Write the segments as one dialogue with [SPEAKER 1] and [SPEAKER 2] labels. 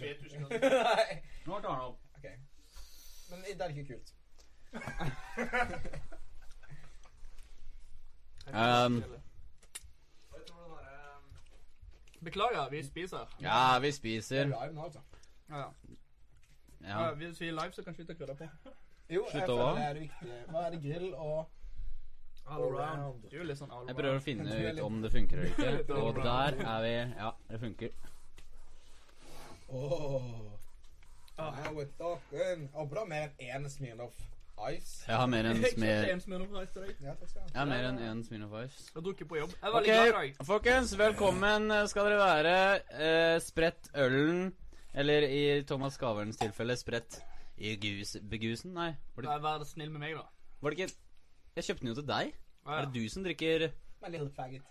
[SPEAKER 1] 3000 kroner.
[SPEAKER 2] Nei.
[SPEAKER 3] Nå tar han opp.
[SPEAKER 2] Ok. Men det er ikke kult.
[SPEAKER 4] Um,
[SPEAKER 1] Beklager, vi spiser.
[SPEAKER 4] ja, vi
[SPEAKER 2] Det er
[SPEAKER 4] spiser.
[SPEAKER 2] live nå, altså.
[SPEAKER 1] Ja, ja.
[SPEAKER 4] Ja.
[SPEAKER 1] Ja, Hvis vi er live, så kan vi slutte å krydre på.
[SPEAKER 2] Jo, jeg
[SPEAKER 4] Slutt
[SPEAKER 2] føler
[SPEAKER 4] å hva?
[SPEAKER 2] det er det viktige. Hva er det grill og
[SPEAKER 1] All around. Du er litt sånn all
[SPEAKER 4] Jeg prøver å
[SPEAKER 1] around.
[SPEAKER 4] finne ut om det funker eller ikke. Og der er vi Ja, det funker.
[SPEAKER 2] Åh.
[SPEAKER 1] Ah.
[SPEAKER 2] Now we're talking. Og bra mer enn én Smirnoff Ice.
[SPEAKER 4] Jeg har mer enn smer...
[SPEAKER 1] Jeg har
[SPEAKER 2] Ja, takk skal du ha.
[SPEAKER 4] Jeg har mer enn én Smirnoff Ice.
[SPEAKER 1] drukket på jobb. Jeg er
[SPEAKER 4] Ok,
[SPEAKER 1] veldig glad i dag.
[SPEAKER 4] folkens, velkommen eh, skal dere være. Eh, spredt ølen, eller i Thomas Skaverens tilfelle, spredt i gus, begusen? Nei, var det,
[SPEAKER 1] Vær- Vær snill med meg, da.
[SPEAKER 4] var det ikke Jeg kjøpte den jo til deg.
[SPEAKER 1] Ja,
[SPEAKER 4] Er
[SPEAKER 1] ja.
[SPEAKER 4] det du som drikker
[SPEAKER 2] My little faggot.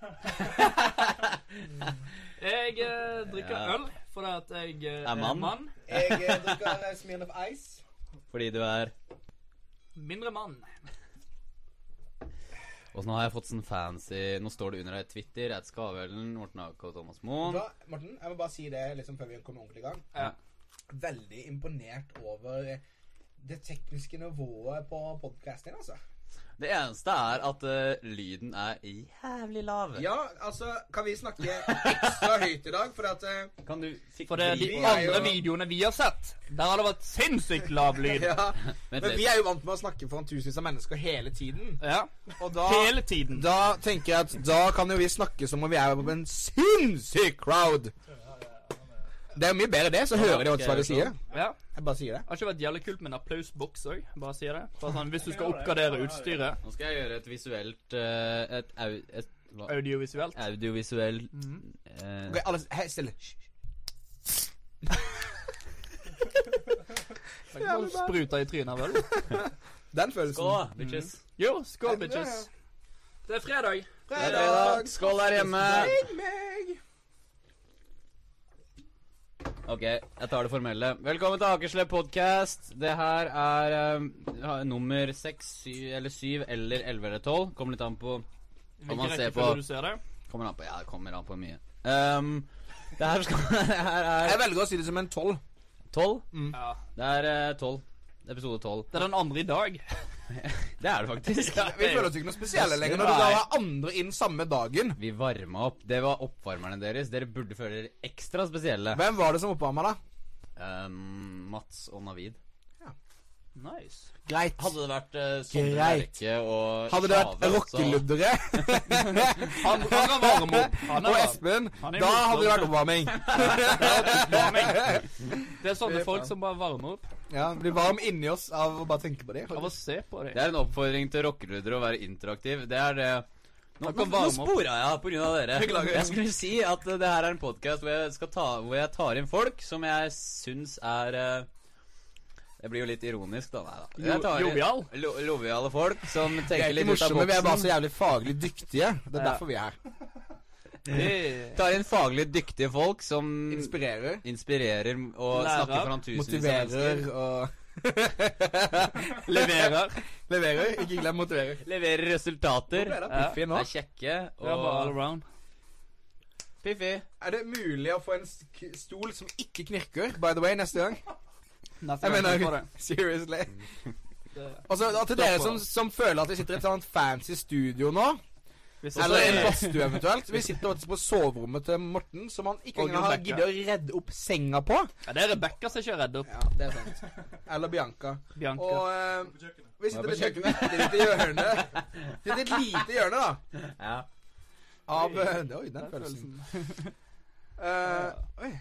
[SPEAKER 1] Jeg eh, drikker
[SPEAKER 4] Ja.
[SPEAKER 1] øl fordi at jeg eh,
[SPEAKER 4] Er mann.
[SPEAKER 2] Jeg eh, drikker eh, Smirnoff Ice.
[SPEAKER 4] fordi du er
[SPEAKER 1] Mindre mann.
[SPEAKER 4] Åssen har jeg fått sånn fancy Nå står det under her Twitter, at Skavølen, Morten Ake og Thomas Moen.
[SPEAKER 2] Da, Morten, jeg må bare si det liksom før vi kommer ordentlig i gang.
[SPEAKER 1] Ja.
[SPEAKER 2] Veldig imponert over eh, det tekniske nivået på podkasten din, altså.
[SPEAKER 4] Det eneste er at eh, lyden er jævlig lav.
[SPEAKER 2] Ja, altså, kan vi snakke ekstra høyt i dag? For at eh,
[SPEAKER 4] Kan du fikse
[SPEAKER 1] For det er de
[SPEAKER 2] Vi er
[SPEAKER 1] andre
[SPEAKER 2] jo-
[SPEAKER 1] videoene vi har sett. Der har det vært sinnssykt lav lyd.
[SPEAKER 2] Ja.
[SPEAKER 4] Vent
[SPEAKER 2] Men vi
[SPEAKER 4] litt.
[SPEAKER 2] er jo vant med å snakke foran tusenvis av mennesker hele tiden.
[SPEAKER 1] Ja.
[SPEAKER 2] Og da,
[SPEAKER 1] Hele tiden.
[SPEAKER 2] da tenker jeg at da kan jo vi snakke som om vi er på en sinnssyk crowd. Det er jo mye bedre det, så hører de også hva vi sier.
[SPEAKER 1] Ja.
[SPEAKER 2] Jeg bare sier det.
[SPEAKER 1] Det har ikke vært jævlig kult med en applausboks òg, bare sier det. Bare sånn, hvis du skal oppgradere utstyret
[SPEAKER 4] Nå skal jeg gjøre et visuelt eh, Et, au, et hva?
[SPEAKER 1] audiovisuelt.
[SPEAKER 4] audiovisuell eh,
[SPEAKER 2] Mhm. Ok, alle hei, stille. Hysj, hysj.
[SPEAKER 1] Det er ikke noe Spruta i trynet, vel? Mm.
[SPEAKER 2] Den følelsen.
[SPEAKER 4] Skål, bitches.
[SPEAKER 1] Jo, skål, bitches. Det er fredag.
[SPEAKER 4] Det er fredag. Skål der hjemme.
[SPEAKER 2] Ring meg!
[SPEAKER 4] Ok, jeg tar det formelle. Velkommen til Akerslepp podcast. Det her er eh, ha- nummer seks, syv eller syv eller elleve eller tolv. Kommer litt an på Om man
[SPEAKER 1] Hvilken
[SPEAKER 4] ser
[SPEAKER 1] rekkefølge
[SPEAKER 4] på-
[SPEAKER 1] du ser det.
[SPEAKER 4] Kommer an på Ja, det kommer an på mye. Ehm, det her skal Det her
[SPEAKER 2] Jeg
[SPEAKER 4] er
[SPEAKER 2] velger å si det som en tolv.
[SPEAKER 4] tolv.
[SPEAKER 2] Mm.
[SPEAKER 1] Ja.
[SPEAKER 4] Det er eh, tolv. Episode tolv.
[SPEAKER 1] Det er den andre i dag.
[SPEAKER 4] Det er det faktisk.
[SPEAKER 2] Vi føler oss ikke noe spesielle lenger når du da har andre inn samme dagen.
[SPEAKER 4] Vi varma opp. Det var oppvarmerne deres. Dere burde føle dere ekstra spesielle.
[SPEAKER 2] Hvem var det som oppvarma, da?
[SPEAKER 4] Ehm, Mats og Navid.
[SPEAKER 1] Nice.
[SPEAKER 2] Greit.
[SPEAKER 4] Hadde det vært uh, Sondre
[SPEAKER 2] Greit.
[SPEAKER 4] Lerche og
[SPEAKER 2] Hadde det vært
[SPEAKER 4] Tjave, så-
[SPEAKER 2] rockeluddere
[SPEAKER 1] Han, han er varm opp.
[SPEAKER 2] og
[SPEAKER 1] Han er varm.
[SPEAKER 2] Espen,
[SPEAKER 1] Han er
[SPEAKER 2] da
[SPEAKER 1] motstander.
[SPEAKER 2] hadde det vært oppvarming.
[SPEAKER 1] Det er sånne folk som bare varmer opp
[SPEAKER 2] Ja, Blir varm inni oss av å bare tenke på det.
[SPEAKER 1] av å se på
[SPEAKER 4] Det
[SPEAKER 1] dem.
[SPEAKER 4] er en oppfordring til rockeluddere å være interaktiv. Det er det Nå,
[SPEAKER 1] kan
[SPEAKER 4] nå- nå
[SPEAKER 1] varme opp.
[SPEAKER 4] spora jeg av på grunn av dere.
[SPEAKER 2] Beklager.
[SPEAKER 4] Jeg skulle si at eh, det her er en podkast hvor, jeg skal ta- hvor jeg tar inn folk som jeg syns er eh, Det blir jo litt ironisk, da. Nei da. Jeg tar inn
[SPEAKER 1] jovial.
[SPEAKER 4] lo- Joviale folk som
[SPEAKER 2] Vi
[SPEAKER 4] tenker
[SPEAKER 2] er ikke
[SPEAKER 4] litt ut av
[SPEAKER 2] morsomme, vi er bare så
[SPEAKER 4] boksen.
[SPEAKER 2] jævlig faglig dyktige. Det er
[SPEAKER 4] Ja.
[SPEAKER 2] derfor vi er her.
[SPEAKER 1] Det-
[SPEAKER 4] Tar inn faglig dyktige folk som
[SPEAKER 2] Inspirerer,
[SPEAKER 4] inspirerer og
[SPEAKER 1] Lærer.
[SPEAKER 4] snakker foran
[SPEAKER 2] Mm.
[SPEAKER 4] tusenvis av
[SPEAKER 2] motiverer
[SPEAKER 4] mennesker.
[SPEAKER 2] og
[SPEAKER 1] Leverer.
[SPEAKER 2] Leverer. Ikke glem motiverer.
[SPEAKER 4] Leverer resultater.
[SPEAKER 2] Nå ble det
[SPEAKER 4] Ja.
[SPEAKER 2] piffig nå.
[SPEAKER 4] Er kjekke
[SPEAKER 1] Det er bare all
[SPEAKER 4] og
[SPEAKER 1] around.
[SPEAKER 4] Piffi.
[SPEAKER 2] Er det mulig å få en sk- stol som ikke knirker, by the way, neste gang?
[SPEAKER 1] Neste
[SPEAKER 2] Jeg
[SPEAKER 1] gang
[SPEAKER 2] mener,
[SPEAKER 1] vi får det.
[SPEAKER 2] seriously.
[SPEAKER 1] Det-
[SPEAKER 2] Og så og til dere som, som føler at vi sitter i et sånt fancy studio nå,
[SPEAKER 1] vi ses
[SPEAKER 2] eller en
[SPEAKER 1] senere.
[SPEAKER 2] badstue eventuelt Vi sitter faktisk på soverommet til Morten, som han ikke
[SPEAKER 1] Og
[SPEAKER 2] engang har
[SPEAKER 1] Rebecca.
[SPEAKER 2] giddet å redde opp senga på.
[SPEAKER 1] Ja, det er Rebekka som ikke er redd opp.
[SPEAKER 2] Ja, det er sant. Eller Bianca. Og
[SPEAKER 1] Bianca.
[SPEAKER 2] eh, vi sitter
[SPEAKER 4] Nå
[SPEAKER 2] ved
[SPEAKER 4] er jeg på
[SPEAKER 2] kjøkkenet i et lite hjørne. Det er et lite hjørne, da.
[SPEAKER 4] Ja.
[SPEAKER 2] Av eh, Oi, den følelsen. Eh, oi.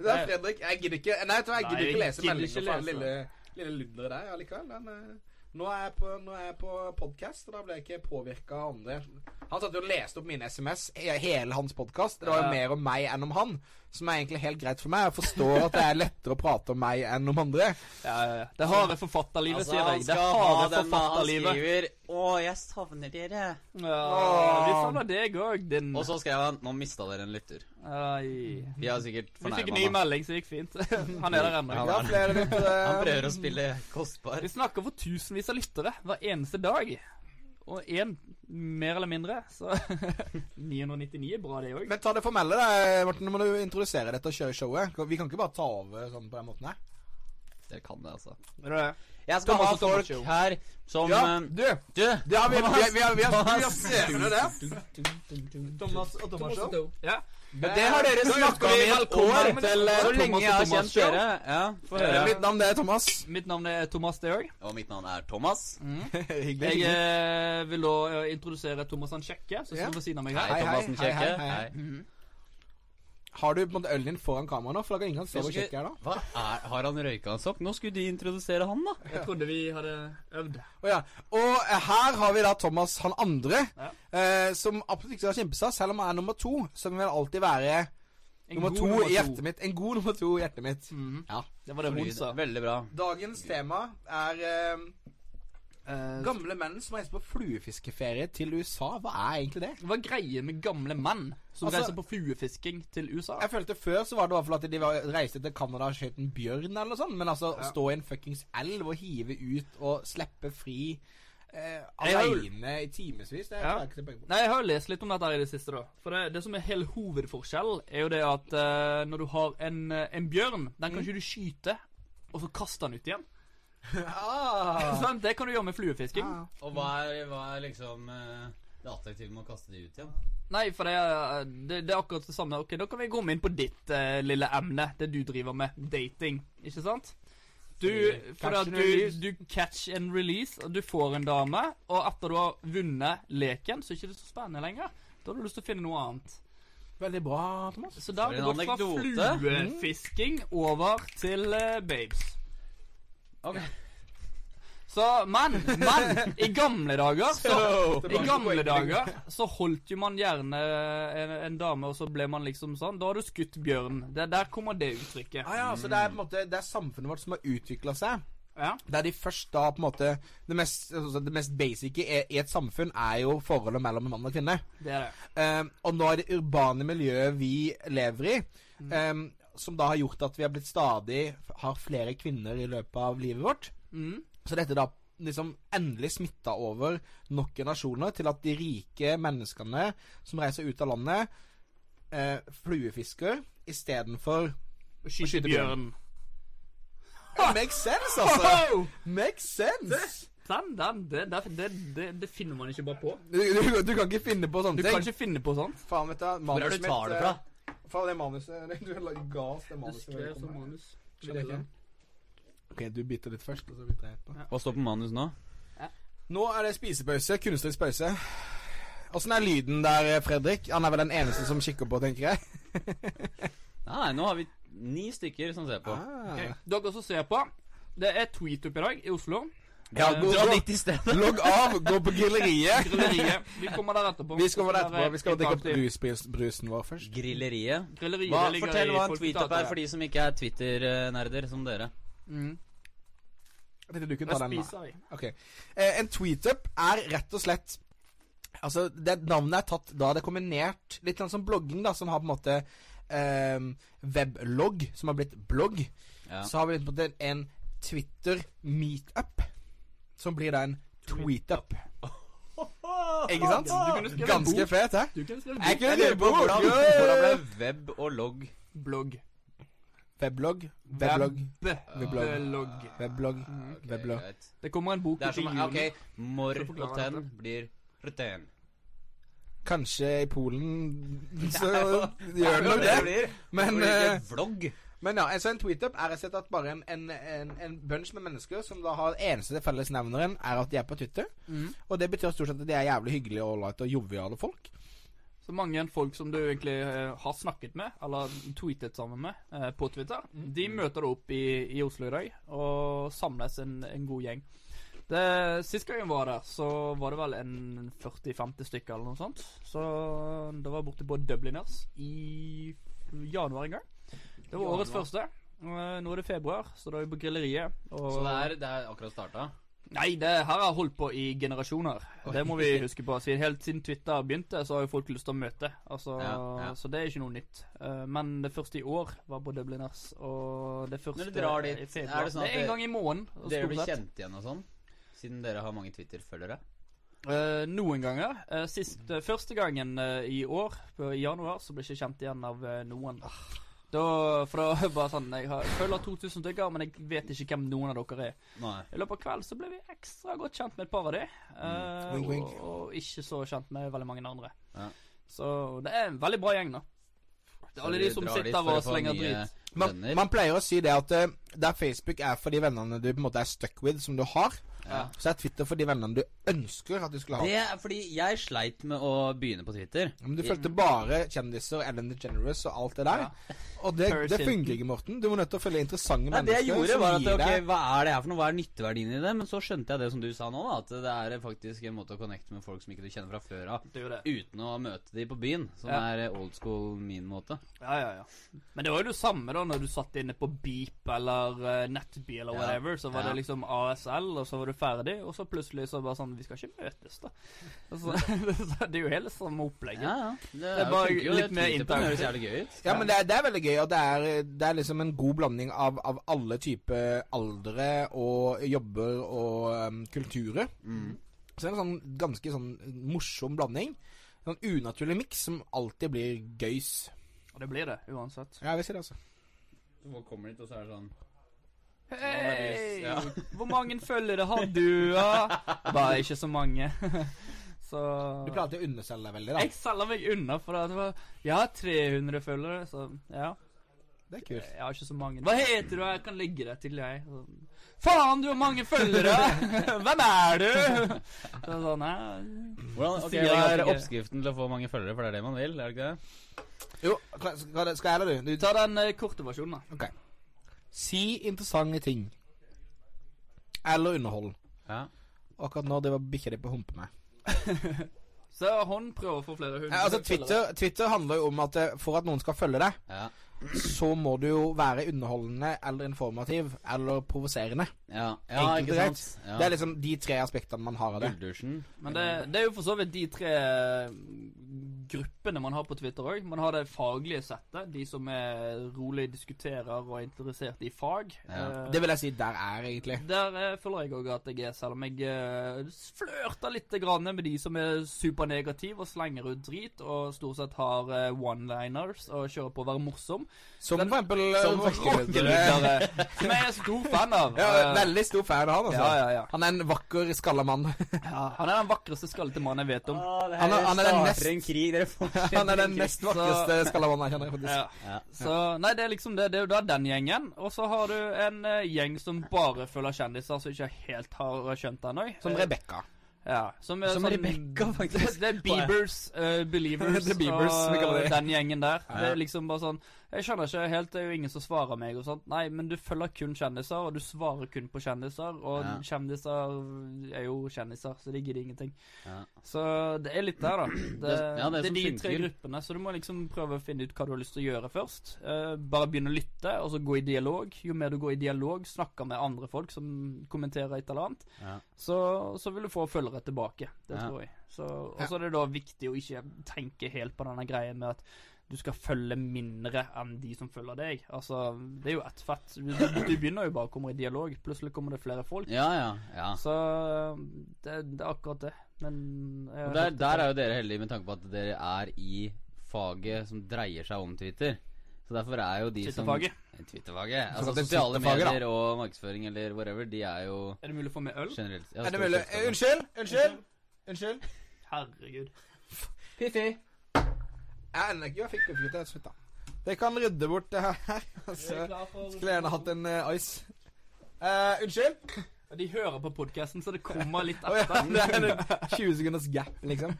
[SPEAKER 2] Det er Fredrik. Jeg gidder ikke Nei, vet du hva, jeg gidder
[SPEAKER 1] Nei,
[SPEAKER 2] ikke
[SPEAKER 1] jeg
[SPEAKER 2] lese
[SPEAKER 1] gidder
[SPEAKER 2] meldinger
[SPEAKER 1] ikke
[SPEAKER 2] fra den
[SPEAKER 1] lese.
[SPEAKER 2] lille, lille ludderet der allikevel. Den, eh, nå er jeg på, nå er jeg på podkast, og da ble jeg ikke påvirka av andre. Han satt jo og leste opp mine SMS, he- hele hans podkast. Det var jo
[SPEAKER 1] Ja.
[SPEAKER 2] mer om meg enn om han, som er egentlig helt greit for meg. Jeg forstår at det er lettere å prate om meg enn om andre.
[SPEAKER 1] Ja, ja, ja. Det harde forfatterlivet,
[SPEAKER 4] Altså,
[SPEAKER 1] sier
[SPEAKER 4] han
[SPEAKER 1] jeg. Det
[SPEAKER 4] skal ha
[SPEAKER 1] harde
[SPEAKER 4] den han
[SPEAKER 1] forfatterlivet.
[SPEAKER 4] skriver Å, jeg savner dere.
[SPEAKER 1] Ja, vi savner deg òg, din
[SPEAKER 4] Og så skrev han Nå mista dere en lytter.
[SPEAKER 1] Ai.
[SPEAKER 4] Vi har sikkert
[SPEAKER 1] Vi fikk
[SPEAKER 4] fornærma
[SPEAKER 1] en ny melding, så det gikk fint. Han er der
[SPEAKER 4] Ja,
[SPEAKER 1] ennå.
[SPEAKER 2] Ja,
[SPEAKER 4] men-
[SPEAKER 2] flere lyttere.
[SPEAKER 4] Han prøver å spille kostbar.
[SPEAKER 1] Vi snakker for tusenvis av lyttere hver eneste dag. Og én, mer eller mindre. Så 999 er bra, det òg.
[SPEAKER 2] Men ta det formelle, da, Morten. Nå må du introdusere dette og kjøre showet. Vi kan ikke bare ta over sånn på den måten her.
[SPEAKER 4] Dere kan det, altså.
[SPEAKER 1] Hva
[SPEAKER 4] Jeg skal ha
[SPEAKER 1] Thomas og Thomas
[SPEAKER 4] folk
[SPEAKER 1] Show.
[SPEAKER 4] her som
[SPEAKER 2] Ja,
[SPEAKER 4] eh,
[SPEAKER 2] du!
[SPEAKER 4] Du!
[SPEAKER 2] Det har vi, vi, vi, har- vi, har- vi har
[SPEAKER 4] Thomas.
[SPEAKER 2] skrevet det.
[SPEAKER 1] Thomas og Thomas Show. Ja.
[SPEAKER 2] Men
[SPEAKER 4] eh,
[SPEAKER 2] det har dere
[SPEAKER 1] Da
[SPEAKER 2] snakket
[SPEAKER 1] ønsker
[SPEAKER 2] om
[SPEAKER 1] vi
[SPEAKER 2] i et år.
[SPEAKER 1] velkommen til, eh,
[SPEAKER 4] Så
[SPEAKER 1] Thomas
[SPEAKER 4] lenge
[SPEAKER 1] og
[SPEAKER 4] jeg har
[SPEAKER 1] Thomas
[SPEAKER 4] kjent
[SPEAKER 1] Show.
[SPEAKER 4] dere. Ja, få
[SPEAKER 1] Ja,
[SPEAKER 4] høre.
[SPEAKER 1] ja.
[SPEAKER 2] Eh, Mitt navn det er Thomas.
[SPEAKER 1] Mitt navn er Thomas, det òg.
[SPEAKER 4] Og mitt navn er Thomas.
[SPEAKER 2] Hyggelig.
[SPEAKER 1] Jeg eh, vil da eh, introdusere Thomas han kjekke, som
[SPEAKER 2] Ja.
[SPEAKER 1] står ved siden av meg
[SPEAKER 4] Hei,
[SPEAKER 1] her.
[SPEAKER 2] hei,
[SPEAKER 4] Thomassen
[SPEAKER 2] hei, hei,
[SPEAKER 4] Kjekke.
[SPEAKER 2] hei, hei.
[SPEAKER 4] Hei.
[SPEAKER 2] Har du på en måte ølen din foran kamera nå? For da kan ingen se
[SPEAKER 4] Nå
[SPEAKER 2] hvor
[SPEAKER 4] skulle-
[SPEAKER 2] kjekk jeg er da.
[SPEAKER 4] Hva er, har han røyka en sopp? Nå skulle de introdusere han, da.
[SPEAKER 1] Jeg trodde vi hadde øvd.
[SPEAKER 2] Å ja. Og eh, her har vi da Thomas han andre,
[SPEAKER 1] Ja.
[SPEAKER 2] eh, som absolutt ikke skal kjempe seg. Selv om han er nummer to, så vil han alltid være
[SPEAKER 1] En
[SPEAKER 2] nummer
[SPEAKER 1] god
[SPEAKER 2] to
[SPEAKER 1] nummer
[SPEAKER 2] i hjertet mitt. En god nummer to i hjertet mitt.
[SPEAKER 1] Mhm.
[SPEAKER 2] Ja.
[SPEAKER 1] Det var det hun sa.
[SPEAKER 4] Veldig bra.
[SPEAKER 2] Dagens tema er eh,
[SPEAKER 1] Eh,
[SPEAKER 2] gamle menn som reiser på fluefiskeferie til USA. Hva er egentlig det?
[SPEAKER 1] Hva er greia med gamle menn som
[SPEAKER 2] Altså-
[SPEAKER 1] reiser på fluefisking til USA?
[SPEAKER 2] Jeg følte Før så var det i hvert fall at de var, reiste til Canada og skjøt en bjørn eller noe sånt. Men altså å stå i en fuckings elv og hive ut og slippe fri eh,
[SPEAKER 1] Jeg har jo-
[SPEAKER 2] aleine i timevis, det er
[SPEAKER 1] Ja.
[SPEAKER 2] jeg ikke tilbake på.
[SPEAKER 1] Nei, jeg har jo lest litt om dette her i det siste, da. For det, det som er hele hovedforskjellen, er jo det at eh, når du har en, eh, en bjørn,
[SPEAKER 2] Mm.
[SPEAKER 1] den kan ikke du skyte, og så kaste den ut igjen.
[SPEAKER 2] Ah.
[SPEAKER 1] Sant? det kan du gjøre med fluefisking.
[SPEAKER 2] Ah.
[SPEAKER 4] Og hva er, hva er liksom eh, det attraktive med å kaste de ut igjen?
[SPEAKER 1] Nei, for det, er- det, det er akkurat det samme. Ok, Da kan vi komme inn på ditt eh, lille emne, det du driver med. Dating. Ikke sant? Du, for
[SPEAKER 2] Catch
[SPEAKER 1] at
[SPEAKER 2] and
[SPEAKER 1] du,
[SPEAKER 2] release.
[SPEAKER 1] du catch and release, og du får en dame, og etter du har vunnet leken, så er ikke det så spennende lenger. Da har du lyst til å finne noe annet.
[SPEAKER 2] Veldig bra, Thomas.
[SPEAKER 1] Så da har
[SPEAKER 4] For
[SPEAKER 1] vi
[SPEAKER 4] en
[SPEAKER 1] gått fra
[SPEAKER 4] anekdote.
[SPEAKER 1] fluefisking over til eh, babes.
[SPEAKER 4] Ok.
[SPEAKER 1] Så, men, men i gamle dager så Oh. i gamle dager så holdt jo man gjerne eh, en, en dame, og så ble man liksom sånn Da har du skutt bjørn. Det, der kommer det uttrykket.
[SPEAKER 2] Ah, ja, så det er på en måte Det er samfunnet vårt som har utvikla seg.
[SPEAKER 1] Ja.
[SPEAKER 2] Der de først da på en måte Det mest, altså, det mest basice i i et samfunn er jo forholdet mellom mann og kvinne.
[SPEAKER 1] Det er det.
[SPEAKER 2] Eh, og nå er det urbane miljøet vi lever i, eh, som da har gjort at vi har blitt stadig har flere kvinner i løpet av livet vårt.
[SPEAKER 1] Mm.
[SPEAKER 2] Så dette da liksom endelig smitta over nok generasjoner til at de rike menneskene som reiser ut av landet, eh, fluefisker istedenfor
[SPEAKER 1] Å skyte
[SPEAKER 2] skyte
[SPEAKER 1] bjørn.
[SPEAKER 2] Makes sense, altså!
[SPEAKER 1] Ho!
[SPEAKER 2] Makes sense!
[SPEAKER 1] Den, den, det, det, det, det, det finner man ikke bare på.
[SPEAKER 2] Du, du, du kan ikke finne på
[SPEAKER 1] Du
[SPEAKER 2] sånne
[SPEAKER 1] kan
[SPEAKER 2] ting.
[SPEAKER 1] ikke finne på sånt.
[SPEAKER 2] Faen, vet du, eh,
[SPEAKER 4] Hvor er det du tar det fra?
[SPEAKER 2] Faen, det manuset Du ga oss det
[SPEAKER 1] Det
[SPEAKER 2] manuset.
[SPEAKER 1] skrev som manus. Skal vi dele?
[SPEAKER 2] Ok, du biter litt først, og så biter jeg etterpå.
[SPEAKER 4] Hva står på manus nå?
[SPEAKER 2] Nå er det spisepause. Kunstnerisk pause. Åssen er lyden der, Fredrik? Han er vel den eneste som kikker på, tenker jeg.
[SPEAKER 4] Nei, nå har vi ni stykker som ser på.
[SPEAKER 1] Ah, Ok, Dere som ser på, det er tweet opp i dag i Oslo.
[SPEAKER 2] Ja,
[SPEAKER 1] Eh,
[SPEAKER 2] god-
[SPEAKER 4] Dra dit i stedet.
[SPEAKER 2] Logg av, gå på grilleriet.
[SPEAKER 1] Grilleriet. Vi kommer der etterpå.
[SPEAKER 2] Vi skal over der etterpå. Vi skal drikke opp
[SPEAKER 1] Interaktiv.
[SPEAKER 2] brus, brusen vår først.
[SPEAKER 4] Grilleriet.
[SPEAKER 1] Grilleriet
[SPEAKER 4] Hva,
[SPEAKER 1] det ligger
[SPEAKER 4] fortell
[SPEAKER 1] i
[SPEAKER 4] hva en
[SPEAKER 1] Folketeatret.
[SPEAKER 4] tweetup er for de som ikke er Twitter-nerder som dere.
[SPEAKER 1] Mm.
[SPEAKER 2] Jeg tenkte du kunne
[SPEAKER 1] Da
[SPEAKER 2] ta den. da.
[SPEAKER 1] spiser vi.
[SPEAKER 2] Ok. Eh, en tweetup er rett og slett Altså, det navnet er tatt da det er kombinert Litt sånn som blogging, da, som har på en måte eh, weblogg, som har blitt blogg.
[SPEAKER 4] Ja.
[SPEAKER 2] Så har vi på en måte en Twitter-meetup, som blir da en tweetup. Ikke sant?
[SPEAKER 1] Du kunne skrevet
[SPEAKER 2] Ganske
[SPEAKER 1] bok.
[SPEAKER 2] fet, hæ?
[SPEAKER 1] Du kunne skrevet
[SPEAKER 2] Jeg
[SPEAKER 1] bok.
[SPEAKER 2] kunne
[SPEAKER 4] Jeg lurer på hvordan, hvordan ble web og logg
[SPEAKER 1] Blogg.
[SPEAKER 2] Weblogg. Weblogg. Weblogg.
[SPEAKER 1] Weblogg.
[SPEAKER 2] Weblogg.
[SPEAKER 4] Ah, Ok,
[SPEAKER 2] Weblogg.
[SPEAKER 4] greit.
[SPEAKER 1] Det kommer en bok
[SPEAKER 4] Det er
[SPEAKER 1] ut i
[SPEAKER 4] som
[SPEAKER 1] juni.
[SPEAKER 4] Ok, mor
[SPEAKER 1] Så
[SPEAKER 4] og
[SPEAKER 1] forklarer jeg
[SPEAKER 4] ten
[SPEAKER 1] dette.
[SPEAKER 4] blir ruten.
[SPEAKER 2] Kanskje i Polen så gjør det nok det.
[SPEAKER 4] blir.
[SPEAKER 2] Men,
[SPEAKER 4] Men
[SPEAKER 2] eh,
[SPEAKER 4] Vlogg.
[SPEAKER 2] Men ja, altså en tweetup er rett og slett at bare en, en, en, en bunch med mennesker som da har eneste fellesnevneren, er at de er på Twitter.
[SPEAKER 1] Mhm.
[SPEAKER 2] Og det betyr stort sett at de er jævlig hyggelige og ålreite og joviale folk.
[SPEAKER 1] Så mange folk som du egentlig eh, har snakket med, eller tweetet sammen med, eh, på Twitter,
[SPEAKER 4] Mm.
[SPEAKER 1] de møter deg opp i, i Oslo i dag og samles en, en god gjeng. Det, sist gang jeg var der, så var det vel en 40-50 stykker eller noe sånt. Så det var borte på Dubliners i januar en gang. Det var årets
[SPEAKER 2] Januar.
[SPEAKER 1] første. Eh, Nå er det februar, så da er vi på grilleriet. Og
[SPEAKER 4] Så det er, det er akkurat starta.
[SPEAKER 1] Nei, det her har jeg holdt på i generasjoner. Det må vi huske på. Siden, helt siden Twitter begynte, så har jo folk lyst til å møte. Altså,
[SPEAKER 4] Ja, ja.
[SPEAKER 1] Så det er ikke noe nytt. Eh, men det første i år var på Dubliners. Og det første
[SPEAKER 4] Når du drar dit,
[SPEAKER 1] i februar.
[SPEAKER 4] er det sånn at
[SPEAKER 1] en
[SPEAKER 4] det-
[SPEAKER 1] gang i måneden.
[SPEAKER 4] Dere
[SPEAKER 1] stort
[SPEAKER 4] blir
[SPEAKER 1] sett.
[SPEAKER 4] kjent igjen og sånn? Siden dere har mange Twitter-følgere?
[SPEAKER 1] Eh, noen ganger. Eh, sist, eh, første gangen eh, i år, på, i januar, så ble jeg ikke kjent igjen av eh, noen.
[SPEAKER 4] Ah.
[SPEAKER 1] Da, for da bare sånn Jeg har, følger 2000 stykker, men jeg vet ikke hvem noen av dere er.
[SPEAKER 4] Nei.
[SPEAKER 1] I løpet av kvelden så ble vi ekstra godt kjent med et par av de.
[SPEAKER 4] Mm.
[SPEAKER 1] eh,
[SPEAKER 2] Wink, wink.
[SPEAKER 1] Og, og ikke så kjent med veldig mange andre.
[SPEAKER 4] Ja.
[SPEAKER 1] Så det er en veldig bra gjeng, da. Det er alle de som sitter og slenger drit.
[SPEAKER 2] Man,
[SPEAKER 4] Venner.
[SPEAKER 2] man pleier å si det at eh, der Facebook er for de vennene du på en måte er stuck with, som du har,
[SPEAKER 1] Ja.
[SPEAKER 2] så er Twitter for de vennene du ønsker at du skulle ha.
[SPEAKER 4] Det er fordi jeg sleit med å begynne på Twitter.
[SPEAKER 2] Men du fulgte bare kjendiser og Ellen DeGeneres og alt det der. Og det,
[SPEAKER 1] Paris
[SPEAKER 2] det
[SPEAKER 1] Hilton.
[SPEAKER 2] fungerer ikke, Morten. Du må nødt til å følge interessante
[SPEAKER 4] Nei, det
[SPEAKER 2] mennesker.
[SPEAKER 4] jeg gjorde, var at
[SPEAKER 2] gir
[SPEAKER 4] ok,
[SPEAKER 2] deg-
[SPEAKER 4] hva er det her for noe? Hva er nytteverdien i det? Men så skjønte jeg det som du sa nå, da. At det er faktisk en måte å connecte med folk som ikke du kjenner fra før av.
[SPEAKER 1] Det er jo det.
[SPEAKER 4] Uten å møte de på byen, som
[SPEAKER 1] Ja.
[SPEAKER 4] er old school min måte.
[SPEAKER 1] Ja, ja, ja. Men det var jo det samme da når du satt inne på Beep eller eh, Netby eller
[SPEAKER 4] Ja.
[SPEAKER 1] whatever. Så var
[SPEAKER 4] Ja.
[SPEAKER 1] det liksom ASL, og så var du ferdig, og så plutselig så bare sånn Vi skal ikke møtes, da. Altså, så det er jo hele samme opplegget.
[SPEAKER 4] Ja, ja. Det,
[SPEAKER 1] er bare
[SPEAKER 4] funker jo,
[SPEAKER 1] litt
[SPEAKER 4] det.
[SPEAKER 1] mer
[SPEAKER 4] Twitter
[SPEAKER 1] intern.
[SPEAKER 4] høres jævlig gøy ut.
[SPEAKER 2] Ja, men det er, det er veldig gøy, og det er, det er liksom en god blanding av, av alle typer aldre og jobber og um, kulturer.
[SPEAKER 4] Mm.
[SPEAKER 2] Så det er en sånn ganske sånn morsom blanding. En sånn unaturlig miks som alltid blir gøys.
[SPEAKER 1] Og det blir det, uansett.
[SPEAKER 2] Ja, jeg vil si det, altså.
[SPEAKER 4] Folk kommer dit, og så er det sånn
[SPEAKER 1] Hei!
[SPEAKER 4] Ja.
[SPEAKER 1] Hvor mange følgere har du, da? Bare ikke så mange. så
[SPEAKER 2] Du pleier alltid å underselge deg veldig,
[SPEAKER 1] Jeg
[SPEAKER 2] da.
[SPEAKER 1] selger meg unna for at det var Jeg har 300 følgere, så ja.
[SPEAKER 2] Det er kult.
[SPEAKER 1] Jeg har ikke så mange. Hva heter du? Jeg kan legge deg til, jeg. Så, Faen, du har mange følgere! Hvem er du? Så sånn, ja.
[SPEAKER 4] Hvordan, ok,
[SPEAKER 1] Sier
[SPEAKER 4] Hva
[SPEAKER 1] jeg
[SPEAKER 4] er
[SPEAKER 1] at ikke-
[SPEAKER 4] oppskriften til å få mange følgere? For det er det man vil, er det ikke det?
[SPEAKER 2] Jo, skal skal jeg eller du? du
[SPEAKER 1] Ta den eh, korte versjonen, da.
[SPEAKER 2] ok. Si interessante ting. Eller underhold.
[SPEAKER 4] Ja.
[SPEAKER 2] Akkurat nå driver bikkja di på å humpe meg.
[SPEAKER 1] Så hun prøver å få flere hundre
[SPEAKER 2] Nei, altså,
[SPEAKER 1] følgere.
[SPEAKER 2] Twitter, Twitter handler jo om at eh, for at noen skal følge deg,
[SPEAKER 4] Ja.
[SPEAKER 2] så må du jo være underholdende eller informativ eller provoserende.
[SPEAKER 4] Ja, ja
[SPEAKER 2] Enkelt
[SPEAKER 4] ikke
[SPEAKER 2] og greit.
[SPEAKER 4] sant? Ja.
[SPEAKER 2] Det er liksom de tre aspektene man har av det.
[SPEAKER 4] Bulldusjen.
[SPEAKER 1] Men det, det er jo for så vidt de tre eh, gruppene man har på Twitter òg. Man har det faglige settet. De som er rolig diskuterer og er interessert i fag.
[SPEAKER 4] Ja.
[SPEAKER 1] Eh,
[SPEAKER 2] Det vil jeg si der er, egentlig.
[SPEAKER 1] der eh, føler jeg òg at jeg er, selv om jeg eh, flørter litt grann med de som er supernegative og slenger ut drit og stort sett har eh, one-liners og kjører på å være morsom.
[SPEAKER 2] Som
[SPEAKER 1] Den-
[SPEAKER 2] for eksempel
[SPEAKER 1] Som
[SPEAKER 2] eh, rockelydere.
[SPEAKER 1] rockelydere, eh, som jeg er stor fan av.
[SPEAKER 2] Ja,
[SPEAKER 1] Eh,
[SPEAKER 2] veldig stor fan av han, altså.
[SPEAKER 1] ja, ja, ja.
[SPEAKER 2] Han er en vakker, skalla mann.
[SPEAKER 1] ja. Han er den vakreste skallete mannen jeg vet om.
[SPEAKER 4] Ah, det
[SPEAKER 2] Han er- han er den starter nest-
[SPEAKER 4] en krig. Dere fortsetter
[SPEAKER 2] Han er den mest vakreste skalla mannen jeg kjenner. faktisk.
[SPEAKER 1] Ja. Så, nei, det er liksom det. Det er jo da den gjengen. Og så har du en eh, gjeng som bare følger kjendiser som ikke helt har skjønt det ennå.
[SPEAKER 2] Som Rebekka.
[SPEAKER 1] Eh, Ja, som, er
[SPEAKER 4] Som
[SPEAKER 1] sånn,
[SPEAKER 4] Rebecca, faktisk.
[SPEAKER 1] Det er Beavers, eh, Believers
[SPEAKER 2] The Biebers, vi
[SPEAKER 1] og
[SPEAKER 2] kaller de.
[SPEAKER 1] den gjengen der.
[SPEAKER 4] Ja.
[SPEAKER 1] Det er liksom bare sånn Jeg skjønner ikke helt, det er jo ingen som svarer meg og sånt. Nei, men du følger kun kjendiser, og du svarer kun på kjendiser, og
[SPEAKER 4] Ja.
[SPEAKER 1] kjendiser er jo kjendiser, så de gidder ingenting.
[SPEAKER 4] Ja.
[SPEAKER 1] Så det er litt der, da. Det,
[SPEAKER 4] Det- ja, det som
[SPEAKER 1] det, er de tre
[SPEAKER 4] funker.
[SPEAKER 1] gruppene, så du må liksom prøve å finne ut hva du har lyst til å gjøre først. Eh, bare begynne å lytte, og så gå i dialog. Jo mer du går i dialog, snakker med andre folk som kommenterer et eller annet,
[SPEAKER 4] Ja.
[SPEAKER 1] så, så vil du få følgere tilbake. Det
[SPEAKER 4] Ja.
[SPEAKER 1] tror jeg. Så, og så er det da viktig å ikke tenke helt på denne greien med at du skal følge mindre enn de som følger deg. Altså, det er jo ett fett. Du, du begynner jo bare å komme i dialog. Plutselig kommer det flere folk.
[SPEAKER 4] Ja, ja. ja.
[SPEAKER 1] Så det, det er akkurat det. Men jeg
[SPEAKER 4] Og
[SPEAKER 1] har
[SPEAKER 4] Der,
[SPEAKER 1] hørt det
[SPEAKER 4] der
[SPEAKER 1] før.
[SPEAKER 4] er jo dere heldige med tanke på at dere er i faget som dreier seg om Twitter. Så derfor er jo de som
[SPEAKER 1] Twitterfaget.
[SPEAKER 4] Twitterfaget. Altså
[SPEAKER 2] Såkalt
[SPEAKER 4] sosiale
[SPEAKER 2] Twitterfaget, da.
[SPEAKER 4] medier og markedsføring eller whatever, de er jo
[SPEAKER 1] Er det mulig å få med øl?
[SPEAKER 4] generelt Altså, ja,
[SPEAKER 2] Er det
[SPEAKER 4] stort
[SPEAKER 2] mulig? Eh,
[SPEAKER 4] sett-
[SPEAKER 2] Unnskyld? Unnskyld? Unnskyld?
[SPEAKER 1] Herregud.
[SPEAKER 4] Fiffi.
[SPEAKER 2] Jeg aner ikke. Jeg fikk oppgitt det. Slutt, da. Dere kan rydde bort det her. Altså, skulle gjerne hatt en eh, ice. Eh, unnskyld?
[SPEAKER 1] De hører på podkasten, så det kommer litt
[SPEAKER 2] Å ja, det er
[SPEAKER 1] etter.
[SPEAKER 2] en 20 sekunders gap, liksom.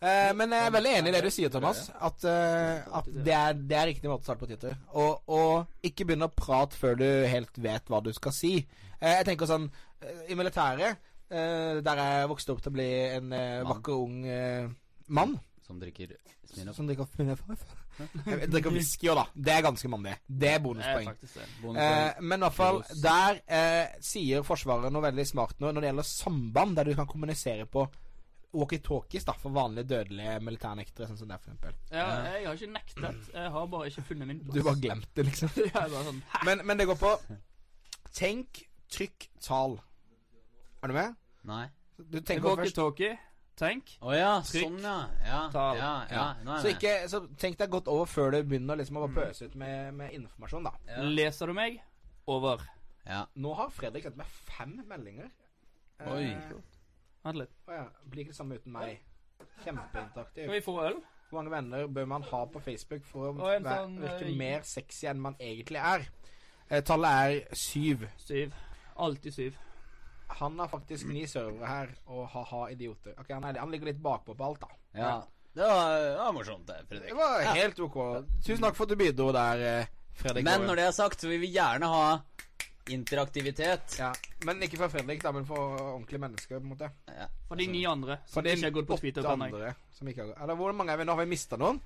[SPEAKER 2] Eh, men jeg er veldig enig i det du sier, Thomas. At, eh, at det, er, det er riktig måte å starte på Twitter. Og, og ikke begynne å prate før du helt vet hva du skal si. Eh, jeg tenker sånn eh, I militæret, eh, der jeg vokste opp til å bli en eh,
[SPEAKER 4] Mann.
[SPEAKER 2] vakker ung eh, mann
[SPEAKER 4] Som drikker Smirnoff.
[SPEAKER 2] Som drikker Jeg drikker whisky òg, da. Det er ganske mandig. Det er bonuspoeng.
[SPEAKER 4] Bonuspoeng.
[SPEAKER 2] Eh, men i hvert fall, der eh, sier Forsvaret noe veldig smart nå når det gjelder samband, der du kan kommunisere på walkietalkies da, for vanlige dødelige militærnektere, sånn som det er, for eksempel.
[SPEAKER 1] Ja, jeg har ikke nektet. Jeg har bare ikke funnet min plass.
[SPEAKER 2] Du bare glemte det, liksom.
[SPEAKER 1] Jeg er bare sånn Hæ?
[SPEAKER 2] Men, men det går på Tenk, trykk, tal. Er du med?
[SPEAKER 4] Nei.
[SPEAKER 2] Du tenker over først.
[SPEAKER 1] Walkietalkie. Tenk.
[SPEAKER 4] Å ja,
[SPEAKER 1] Trykk.
[SPEAKER 4] sånn ja. Ja,
[SPEAKER 1] Tal.
[SPEAKER 4] ja, ja. Mm. Nå er
[SPEAKER 2] Så,
[SPEAKER 4] jeg med.
[SPEAKER 2] ikke, så tenk deg godt over før du begynner liksom å bare pøse ut med, med informasjon, da.
[SPEAKER 4] Ja.
[SPEAKER 1] Leser du meg? Over.
[SPEAKER 4] ja.
[SPEAKER 2] Nå har Fredrik sendt meg fem meldinger. Eh,
[SPEAKER 4] Oi.
[SPEAKER 1] Vent litt.
[SPEAKER 2] å ja. Blir ikke det samme uten meg. Kjempeinteraktiv.
[SPEAKER 1] Skal vi få øl?
[SPEAKER 2] Hvor mange venner bør man ha på Facebook for å
[SPEAKER 1] Og en
[SPEAKER 2] være,
[SPEAKER 1] sånn,
[SPEAKER 2] virke
[SPEAKER 1] eh,
[SPEAKER 2] mer sexy enn man egentlig er? Eh, tallet er syv.
[SPEAKER 1] Syv. Alltid syv.
[SPEAKER 2] Han har faktisk ni servere her, og ha-ha, idioter. Ok, han, er, han ligger litt bakpå på alt, da.
[SPEAKER 4] ja. Det var, det var morsomt, det, Fredrik.
[SPEAKER 2] Det var helt ok. Tusen takk for at du bidro der, eh, Fredrik.
[SPEAKER 4] Men når det er sagt, så vil vi gjerne ha interaktivitet.
[SPEAKER 2] ja, Men ikke fra Fredrik, da, men for ordentlige mennesker, på en måte.
[SPEAKER 1] For de ni andre som
[SPEAKER 2] For det
[SPEAKER 1] ikke har
[SPEAKER 2] er
[SPEAKER 1] gått på
[SPEAKER 2] åtte
[SPEAKER 1] Twitter ennå.
[SPEAKER 2] andre som ikke har gått. Eller hvor mange er vi nå? Har vi mista noen?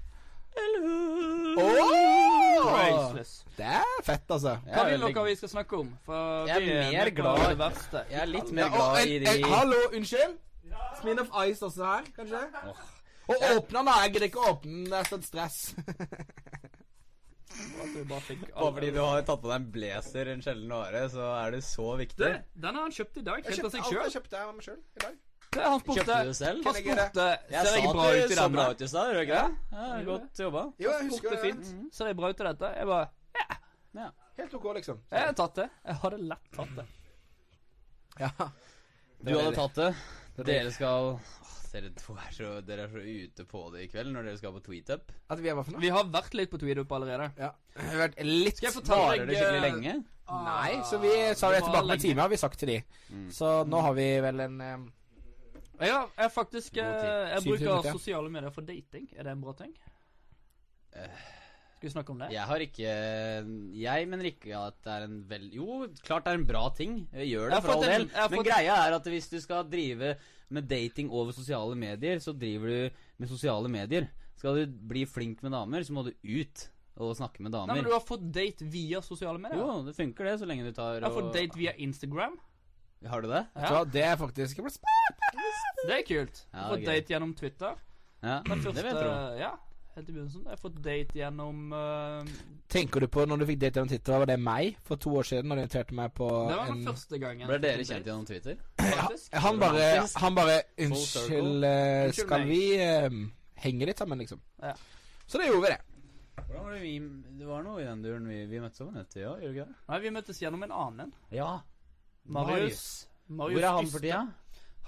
[SPEAKER 1] Priceless.
[SPEAKER 2] Oh! Det er fett, altså.
[SPEAKER 1] Hva vil
[SPEAKER 4] veldig-
[SPEAKER 1] dere vi skal snakke om? For
[SPEAKER 4] Jeg er
[SPEAKER 1] vi
[SPEAKER 4] mer
[SPEAKER 1] med på
[SPEAKER 4] glad-
[SPEAKER 1] Det verste.
[SPEAKER 4] Jeg er litt
[SPEAKER 2] Ja,
[SPEAKER 4] mer
[SPEAKER 2] og
[SPEAKER 4] glad i
[SPEAKER 2] en-
[SPEAKER 4] de
[SPEAKER 2] en- hallo, unnskyld? Smin of Ice også her, kanskje? Og åpne den, da. Jeg gidder ikke å åpne den. Det er sånn stress.
[SPEAKER 1] At du bare fikk
[SPEAKER 4] Bare fordi du har tatt på deg en blazer en sjelden vare, så er det så
[SPEAKER 1] Du,
[SPEAKER 4] viktig.
[SPEAKER 1] Den har han kjøpt i dag. Helt av seg
[SPEAKER 2] alt
[SPEAKER 1] sjøl.
[SPEAKER 2] jeg kjøpte jeg av meg sjøl i dag.
[SPEAKER 1] Han spurte
[SPEAKER 4] Kjøpte du det selv?
[SPEAKER 1] Han
[SPEAKER 2] Kan jeg gjøre
[SPEAKER 1] spurte
[SPEAKER 4] Jeg
[SPEAKER 1] Ser jeg
[SPEAKER 4] sa
[SPEAKER 1] bra
[SPEAKER 4] at
[SPEAKER 1] ut
[SPEAKER 4] du
[SPEAKER 1] i
[SPEAKER 4] så
[SPEAKER 1] den?
[SPEAKER 4] bra
[SPEAKER 1] da?
[SPEAKER 4] ut i stad, gjør du ikke det? Ja, godt jobba.
[SPEAKER 2] Jo, jeg husker
[SPEAKER 1] Spurte
[SPEAKER 2] det.
[SPEAKER 1] fint. Ser jeg bra ut i dette? Jeg bare
[SPEAKER 2] Helt ok, liksom.
[SPEAKER 1] Jeg har tatt det. Jeg hadde lett tatt det.
[SPEAKER 2] Ja.
[SPEAKER 4] Du hadde tatt det.
[SPEAKER 2] Det var
[SPEAKER 4] Dere skal Åh, Dere to er så, dere er så ute på det i kveld når dere skal på tweetup.
[SPEAKER 2] At vi er hva for noe?
[SPEAKER 1] Vi har vært litt på Tweedup allerede.
[SPEAKER 2] Ja. Vi har vært litt Ah,
[SPEAKER 1] Skal jeg fortelle
[SPEAKER 4] Varer
[SPEAKER 1] deg
[SPEAKER 4] det skikkelig
[SPEAKER 1] eh,
[SPEAKER 4] lenge?
[SPEAKER 2] Nei, så vi sa vi er
[SPEAKER 1] Det var
[SPEAKER 2] tilbake med en
[SPEAKER 1] lenge.
[SPEAKER 2] time, har vi sagt til de. Så nå har vi vel en eh,
[SPEAKER 1] Jeg har jeg faktisk eh,
[SPEAKER 4] God tid.
[SPEAKER 1] Jeg
[SPEAKER 2] Syv timer
[SPEAKER 1] bruker
[SPEAKER 2] til.
[SPEAKER 1] sosiale medier for dating. Er det en bra ting? Skal vi snakke om det?
[SPEAKER 4] Jeg har ikke Jeg mener ikke at det er en vel... Jo, klart det er en bra ting. Jeg gjør det
[SPEAKER 1] Jeg har
[SPEAKER 4] for all
[SPEAKER 1] fått en-
[SPEAKER 4] del.
[SPEAKER 1] jeg har
[SPEAKER 4] Men
[SPEAKER 1] fått-
[SPEAKER 4] greia er at hvis du skal drive med dating over sosiale medier, så driver du med sosiale medier. Skal du bli flink med damer, så må du ut og snakke med
[SPEAKER 1] Nei,
[SPEAKER 4] damer.
[SPEAKER 1] men Du har fått date via sosiale medier.
[SPEAKER 4] Jo, det funker det, så lenge du tar
[SPEAKER 1] Jeg har fått
[SPEAKER 4] og-
[SPEAKER 1] date via Instagram.
[SPEAKER 4] Har du det?
[SPEAKER 2] vet du
[SPEAKER 1] Ja,
[SPEAKER 2] hva, Det er faktisk Jeg ble sp-
[SPEAKER 1] det er kult. Jeg
[SPEAKER 4] Ja,
[SPEAKER 1] har
[SPEAKER 4] det
[SPEAKER 1] fått
[SPEAKER 4] er gøy.
[SPEAKER 1] date gjennom Twitter.
[SPEAKER 4] Ja,
[SPEAKER 1] Den første,
[SPEAKER 4] det vet du.
[SPEAKER 1] Ja, helt i begynnelsen. Jeg har fått date gjennom eh,
[SPEAKER 2] Tenker du på når du fikk date gjennom Twitter? Var det meg for to år siden? Når du inviterte meg på
[SPEAKER 1] Det var den
[SPEAKER 2] en
[SPEAKER 1] første gangen.
[SPEAKER 4] Ble dere kjent gjennom Twitter?
[SPEAKER 1] Faktisk.
[SPEAKER 2] Eh, Han bare,
[SPEAKER 4] Romantisk.
[SPEAKER 2] han bare
[SPEAKER 4] circle.
[SPEAKER 2] Unnskyld, eh,
[SPEAKER 1] Unnskyld
[SPEAKER 2] skal
[SPEAKER 1] meg.
[SPEAKER 2] vi eh, henge litt sammen, liksom?
[SPEAKER 1] Ja.
[SPEAKER 2] Så det gjorde vi det.
[SPEAKER 4] Hvordan var det vi Det var noe i den duren vi, vi møttes over nettet, ja? Gjorde vi ikke det?
[SPEAKER 1] Nei, vi møttes gjennom en annen.
[SPEAKER 4] Ja.
[SPEAKER 1] Marius. Marius
[SPEAKER 4] Hvor er han
[SPEAKER 1] Ystad.
[SPEAKER 4] for tida?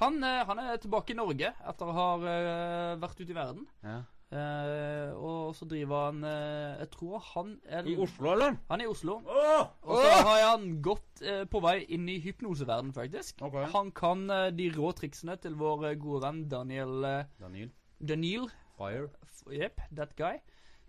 [SPEAKER 1] Han, eh, han er tilbake i Norge etter å ha eh, vært ute i verden.
[SPEAKER 4] Ja.
[SPEAKER 1] Eh, og så driver han eh, Jeg tror han er
[SPEAKER 4] I Oslo, eller?
[SPEAKER 1] Han er i Oslo.
[SPEAKER 4] Åh!
[SPEAKER 1] Og så har han gått eh, på vei inn i hypnoseverden, faktisk.
[SPEAKER 4] Ok.
[SPEAKER 1] Han kan eh, de rå triksene til vår eh, gode venn Daniel eh,
[SPEAKER 4] Daniel.
[SPEAKER 1] Daniel.
[SPEAKER 4] Fire.
[SPEAKER 1] F- Jep, that guy.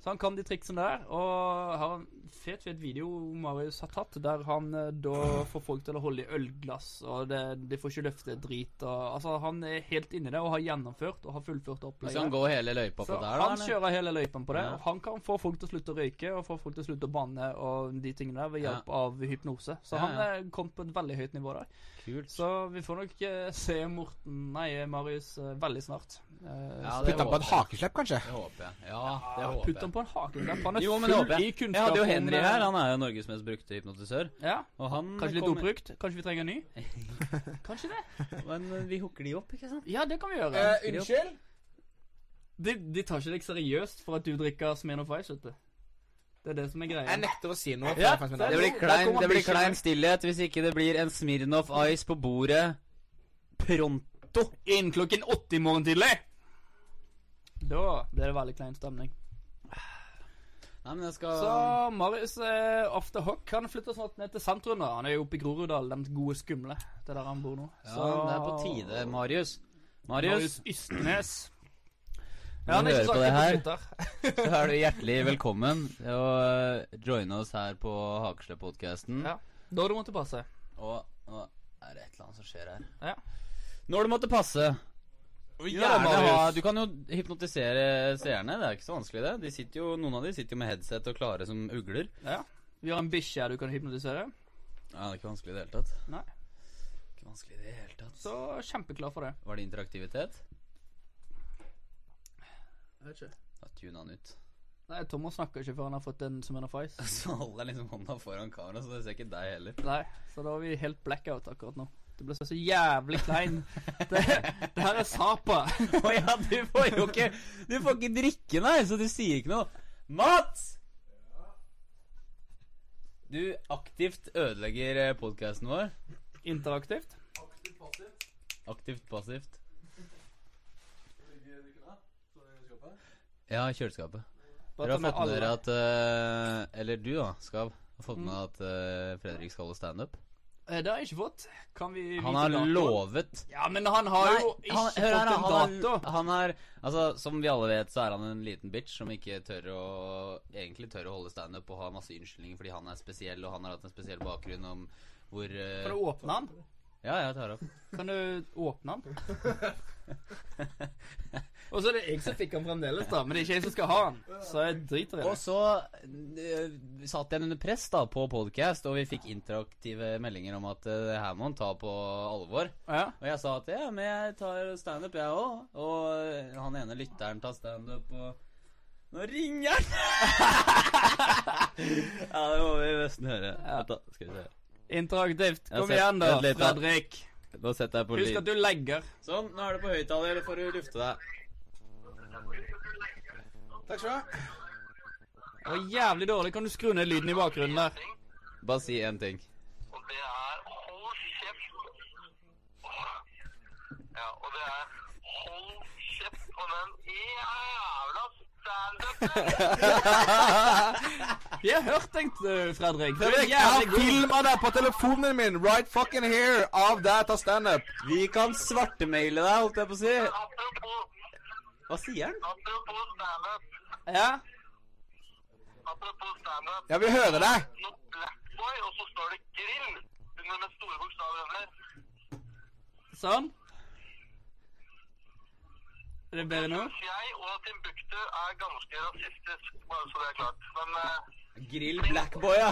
[SPEAKER 1] Så han kan de triksene der, og har en fet, fet video Marius har tatt, der han eh, da får folk til å holde i ølglass, og det, de får ikke løfte drit, og altså han er helt inni det, og har gjennomført, og har fullført
[SPEAKER 4] Så han
[SPEAKER 1] opplegget.
[SPEAKER 4] går hele løypa
[SPEAKER 1] Så
[SPEAKER 4] på der, da?
[SPEAKER 1] han
[SPEAKER 4] eller?
[SPEAKER 1] kjører hele løypen på det,
[SPEAKER 4] Ja.
[SPEAKER 1] og han kan få folk til å slutte å røyke, og få folk til å slutte å banne, og de tingene der, ved
[SPEAKER 4] Ja.
[SPEAKER 1] hjelp av hypnose. Så
[SPEAKER 4] Ja,
[SPEAKER 1] han
[SPEAKER 4] ja.
[SPEAKER 1] er kommet på et veldig høyt nivå der.
[SPEAKER 4] Kult.
[SPEAKER 1] Så vi får nok eh, se Morten, nei, Marius, eh, veldig snart. Eh,
[SPEAKER 4] Ja, det
[SPEAKER 2] Putte han på et
[SPEAKER 4] håper jeg.
[SPEAKER 2] hakeslepp, kanskje?
[SPEAKER 4] Det håper jeg. Ja, det håper
[SPEAKER 1] Putt ham
[SPEAKER 4] jeg.
[SPEAKER 1] på en hakeklepp. Han er
[SPEAKER 4] Jo, men det
[SPEAKER 1] full
[SPEAKER 4] håper
[SPEAKER 1] i kunnskap.
[SPEAKER 4] Jeg hadde jo
[SPEAKER 1] om,
[SPEAKER 4] Henry
[SPEAKER 1] eh,
[SPEAKER 4] her. Han er jo Norges mest brukte hypnotisør.
[SPEAKER 1] Ja,
[SPEAKER 4] Og han
[SPEAKER 1] Kanskje litt
[SPEAKER 4] kommer-
[SPEAKER 1] oppbrukt? Kanskje vi trenger en ny? Kanskje det?
[SPEAKER 4] Men vi hooker de opp, ikke sant?
[SPEAKER 1] Ja, det kan vi gjøre.
[SPEAKER 2] Eh,
[SPEAKER 4] Eh,
[SPEAKER 2] unnskyld?
[SPEAKER 1] De, de tar ikke deg seriøst for at du drikker Smirnoff Ice, vet du. Det er det som er
[SPEAKER 2] Jeg
[SPEAKER 1] greia.
[SPEAKER 2] nekter å si noe. for
[SPEAKER 1] Ja,
[SPEAKER 2] jeg fant min
[SPEAKER 1] det
[SPEAKER 2] navn.
[SPEAKER 4] Det blir
[SPEAKER 1] Der
[SPEAKER 4] klein,
[SPEAKER 1] kommer
[SPEAKER 4] det blir
[SPEAKER 1] bikkjen.
[SPEAKER 4] klein stillhet hvis ikke det blir en Smirnov Ice på bordet pronto.
[SPEAKER 1] Inn klokken åtte i morgen tidlig! Da blir det veldig klein stemning.
[SPEAKER 4] Nei, men jeg skal
[SPEAKER 1] Så Marius eh, After Hock han flytter snart ned til sentrum. da Han er jo oppe i Groruddal, den gode skumle. Det er der han bor nå.
[SPEAKER 4] Ja,
[SPEAKER 1] Så-
[SPEAKER 4] det er på tide, Marius. Marius,
[SPEAKER 1] Marius Ystnes.
[SPEAKER 4] Når du hører på det her-
[SPEAKER 1] på Twitter.
[SPEAKER 4] så er du hjertelig velkommen til å eh, joine oss her på Hakeslepp-podkasten.
[SPEAKER 1] Ja. Da har du måttet passe.
[SPEAKER 4] Og nå er det et eller annet som skjer her.
[SPEAKER 1] Ja.
[SPEAKER 4] Når det måtte passe. Gjerne ha, du kan jo hypnotisere seerne. Det er ikke så vanskelig, det. De sitter jo, noen av de sitter jo med headset og klare som ugler.
[SPEAKER 1] Ja. Vi har en bikkje du kan hypnotisere.
[SPEAKER 4] Ja, Det er ikke vanskelig i det hele tatt.
[SPEAKER 1] Nei.
[SPEAKER 4] Ikke vanskelig i det hele tatt.
[SPEAKER 1] Så kjempeklar for det.
[SPEAKER 4] Var det interaktivitet?
[SPEAKER 1] Vet ikke.
[SPEAKER 4] Da tuna han ut.
[SPEAKER 1] Nei, Thomas snakker ikke før han har fått en som en av Fice.
[SPEAKER 4] Så holder jeg liksom hånda foran kamera, så jeg ser ikke deg heller.
[SPEAKER 1] Nei, så da er vi helt blackout akkurat nå. Du ble så jævlig klein. Det, det her er Sapa.
[SPEAKER 4] Å ja, du får jo ikke Du får ikke drikke, nei, så du sier ikke noe. Mats! Du aktivt ødelegger podkasten vår.
[SPEAKER 1] Interaktivt.
[SPEAKER 4] Aktivt passivt. Ja, i kjøleskapet. Dere
[SPEAKER 1] Bare ta
[SPEAKER 4] har
[SPEAKER 1] med
[SPEAKER 4] fått med dere
[SPEAKER 1] alle.
[SPEAKER 4] at eh, Eller du, da, Skav. Har fått med at eh, Fredrik skal holde standup.
[SPEAKER 1] Eh, Det har jeg ikke fått. Kan vi
[SPEAKER 4] Han
[SPEAKER 1] vite
[SPEAKER 4] har
[SPEAKER 1] datoen?
[SPEAKER 4] lovet
[SPEAKER 1] Ja, men han har
[SPEAKER 4] Nei,
[SPEAKER 1] jo ikke
[SPEAKER 4] han- hør her, da,
[SPEAKER 1] fått
[SPEAKER 4] han
[SPEAKER 1] en
[SPEAKER 4] er-
[SPEAKER 1] dato.
[SPEAKER 4] Han er Altså, som vi alle vet, så er han en liten bitch som ikke tør å Egentlig tør å holde standup og ha masse unnskyldninger fordi han er spesiell, og han har hatt en spesiell bakgrunn om hvor eh,
[SPEAKER 1] Kan du åpne han?
[SPEAKER 4] Ja, jeg tar opp.
[SPEAKER 1] Kan du åpne han? Og så er det jeg som fikk han fremdeles, da. Men det er ikke jeg som skal ha han. Så jeg driter i
[SPEAKER 4] Og
[SPEAKER 1] det.
[SPEAKER 4] så eh, satt jeg under press da på podcast, og vi fikk interaktive meldinger om at eh, det her må han ta på alvor.
[SPEAKER 1] Ja.
[SPEAKER 4] Og jeg sa at ja, men jeg tar standup, jeg òg. Og han ene lytteren tar standup, og Nå ringer han! ja, det må vi nesten høre. Vent da, skal vi se.
[SPEAKER 1] Interaktivt.
[SPEAKER 4] Jeg har
[SPEAKER 1] Kom
[SPEAKER 4] sett-
[SPEAKER 1] igjen, da,
[SPEAKER 4] vent litt, da.
[SPEAKER 1] Fredrik.
[SPEAKER 4] Nå setter jeg på
[SPEAKER 1] Husk
[SPEAKER 4] lyd.
[SPEAKER 1] at du legger.
[SPEAKER 4] Sånn, nå er det på høyttaler, får du lufte deg.
[SPEAKER 2] Takk skal du ha.
[SPEAKER 1] Det var jævlig dårlig. Kan du skru ned lyden i bakgrunnen der?
[SPEAKER 4] Bare si én ting.
[SPEAKER 3] Og det er hold kjeft. Ja, og det er hold kjeft på den jævla standupen.
[SPEAKER 1] Vi har hørt deg, eh, Fredrik.
[SPEAKER 2] Fredrik,
[SPEAKER 1] Du er
[SPEAKER 2] jeg
[SPEAKER 1] jævlig
[SPEAKER 2] har
[SPEAKER 1] god.
[SPEAKER 2] filma deg på telefonen min right fucking here av deg ta standup.
[SPEAKER 4] Vi kan svartemaile deg, holdt jeg på å si.
[SPEAKER 3] Apropos,
[SPEAKER 4] Hva sier han?
[SPEAKER 3] apropos standup.
[SPEAKER 1] Ja.
[SPEAKER 3] Apropos standup.
[SPEAKER 2] Jeg vil høre deg.
[SPEAKER 3] Nå Blackboy, og så står det grill under med store bokstaver under.
[SPEAKER 1] Sånn. Er det bedre nå?
[SPEAKER 3] Synes jeg og Timbuktu er ganske rasistisk, bare så det er klart. Men eh,
[SPEAKER 4] Grill Blackboy, ja.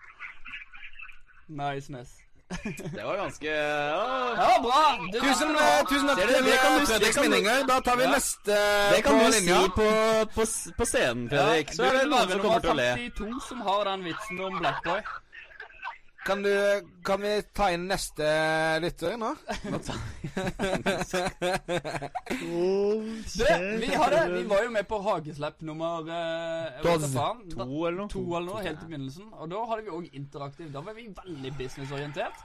[SPEAKER 1] Nice, nice.
[SPEAKER 4] Det var ganske ja.
[SPEAKER 1] Ja, bra! Du-
[SPEAKER 2] Tusen, eh, tusen takk
[SPEAKER 4] Ser du,
[SPEAKER 2] til
[SPEAKER 4] det kan
[SPEAKER 2] eh,
[SPEAKER 4] du- det
[SPEAKER 2] Fredriks
[SPEAKER 4] kan du-
[SPEAKER 2] minninger. Da tar vi
[SPEAKER 4] Ja.
[SPEAKER 2] neste
[SPEAKER 4] Det kan
[SPEAKER 2] på
[SPEAKER 4] du si
[SPEAKER 2] linja.
[SPEAKER 4] på, på, s- på scenen, Fredrik. Så
[SPEAKER 1] Du
[SPEAKER 4] er det noen
[SPEAKER 1] være
[SPEAKER 4] som kommer til å le.
[SPEAKER 1] Nummer 32 som har den vitsen om Blackboy.
[SPEAKER 2] Kan, du, kan vi ta inn neste lytter nå?
[SPEAKER 4] Nå tar-
[SPEAKER 1] Du, vi, hadde, vi var jo med på Hageslepp nummer eh, hva
[SPEAKER 2] Tolv.
[SPEAKER 1] faen? Da-
[SPEAKER 4] To eller noe?
[SPEAKER 1] To eller noe, helt i begynnelsen. Og da hadde vi òg interaktiv. Da var vi veldig businessorientert.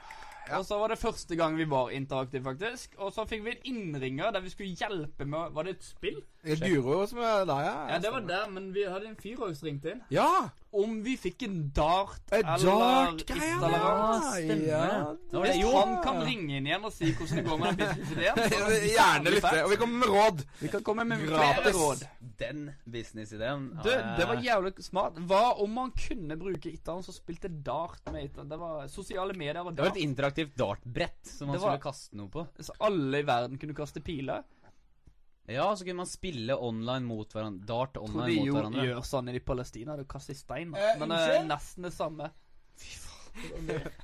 [SPEAKER 1] Og så var det første gang vi var interaktiv, faktisk. Og så fikk vi en innringer der vi skulle hjelpe med Var det et spill?
[SPEAKER 2] Det er Duro som er der, ja.
[SPEAKER 1] Ja, det var der, men vi hadde en fyr også som ringte inn.
[SPEAKER 2] Ja!
[SPEAKER 1] Om vi fikk en dart
[SPEAKER 2] Et
[SPEAKER 1] eller
[SPEAKER 2] dart-greie,
[SPEAKER 1] eller
[SPEAKER 2] ja.
[SPEAKER 1] annet.
[SPEAKER 4] Stemmer.
[SPEAKER 2] Ja.
[SPEAKER 4] Det var det.
[SPEAKER 1] Hvis
[SPEAKER 4] Jo,
[SPEAKER 1] han kan ringe inn igjen og si hvordan det går med den businessideen så er det
[SPEAKER 2] Gjerne
[SPEAKER 1] jævlig
[SPEAKER 2] lytte.
[SPEAKER 1] fett.
[SPEAKER 2] Og vi kommer med råd.
[SPEAKER 1] Vi kan komme med flere
[SPEAKER 2] Gratis.
[SPEAKER 1] råd.
[SPEAKER 4] den businessideen
[SPEAKER 1] Du, det var jævlig smart. Hva om man kunne bruke Itan som spilte dart med Itan? Det var sosiale medier og
[SPEAKER 4] Det var
[SPEAKER 1] dart.
[SPEAKER 4] et interaktivt dartbrett som man
[SPEAKER 1] Det var-
[SPEAKER 4] skulle kaste noe på.
[SPEAKER 1] Så alle i verden kunne kaste piler.
[SPEAKER 4] Ja, så kunne man spille online mot hverandre. Dart
[SPEAKER 1] Tror de
[SPEAKER 4] online mot
[SPEAKER 1] jo
[SPEAKER 4] hverandre.
[SPEAKER 1] gjør sånn i Palestina. Du kaster i stein. da.
[SPEAKER 2] Eh,
[SPEAKER 1] Men det er
[SPEAKER 2] unnskyld?
[SPEAKER 1] nesten det samme.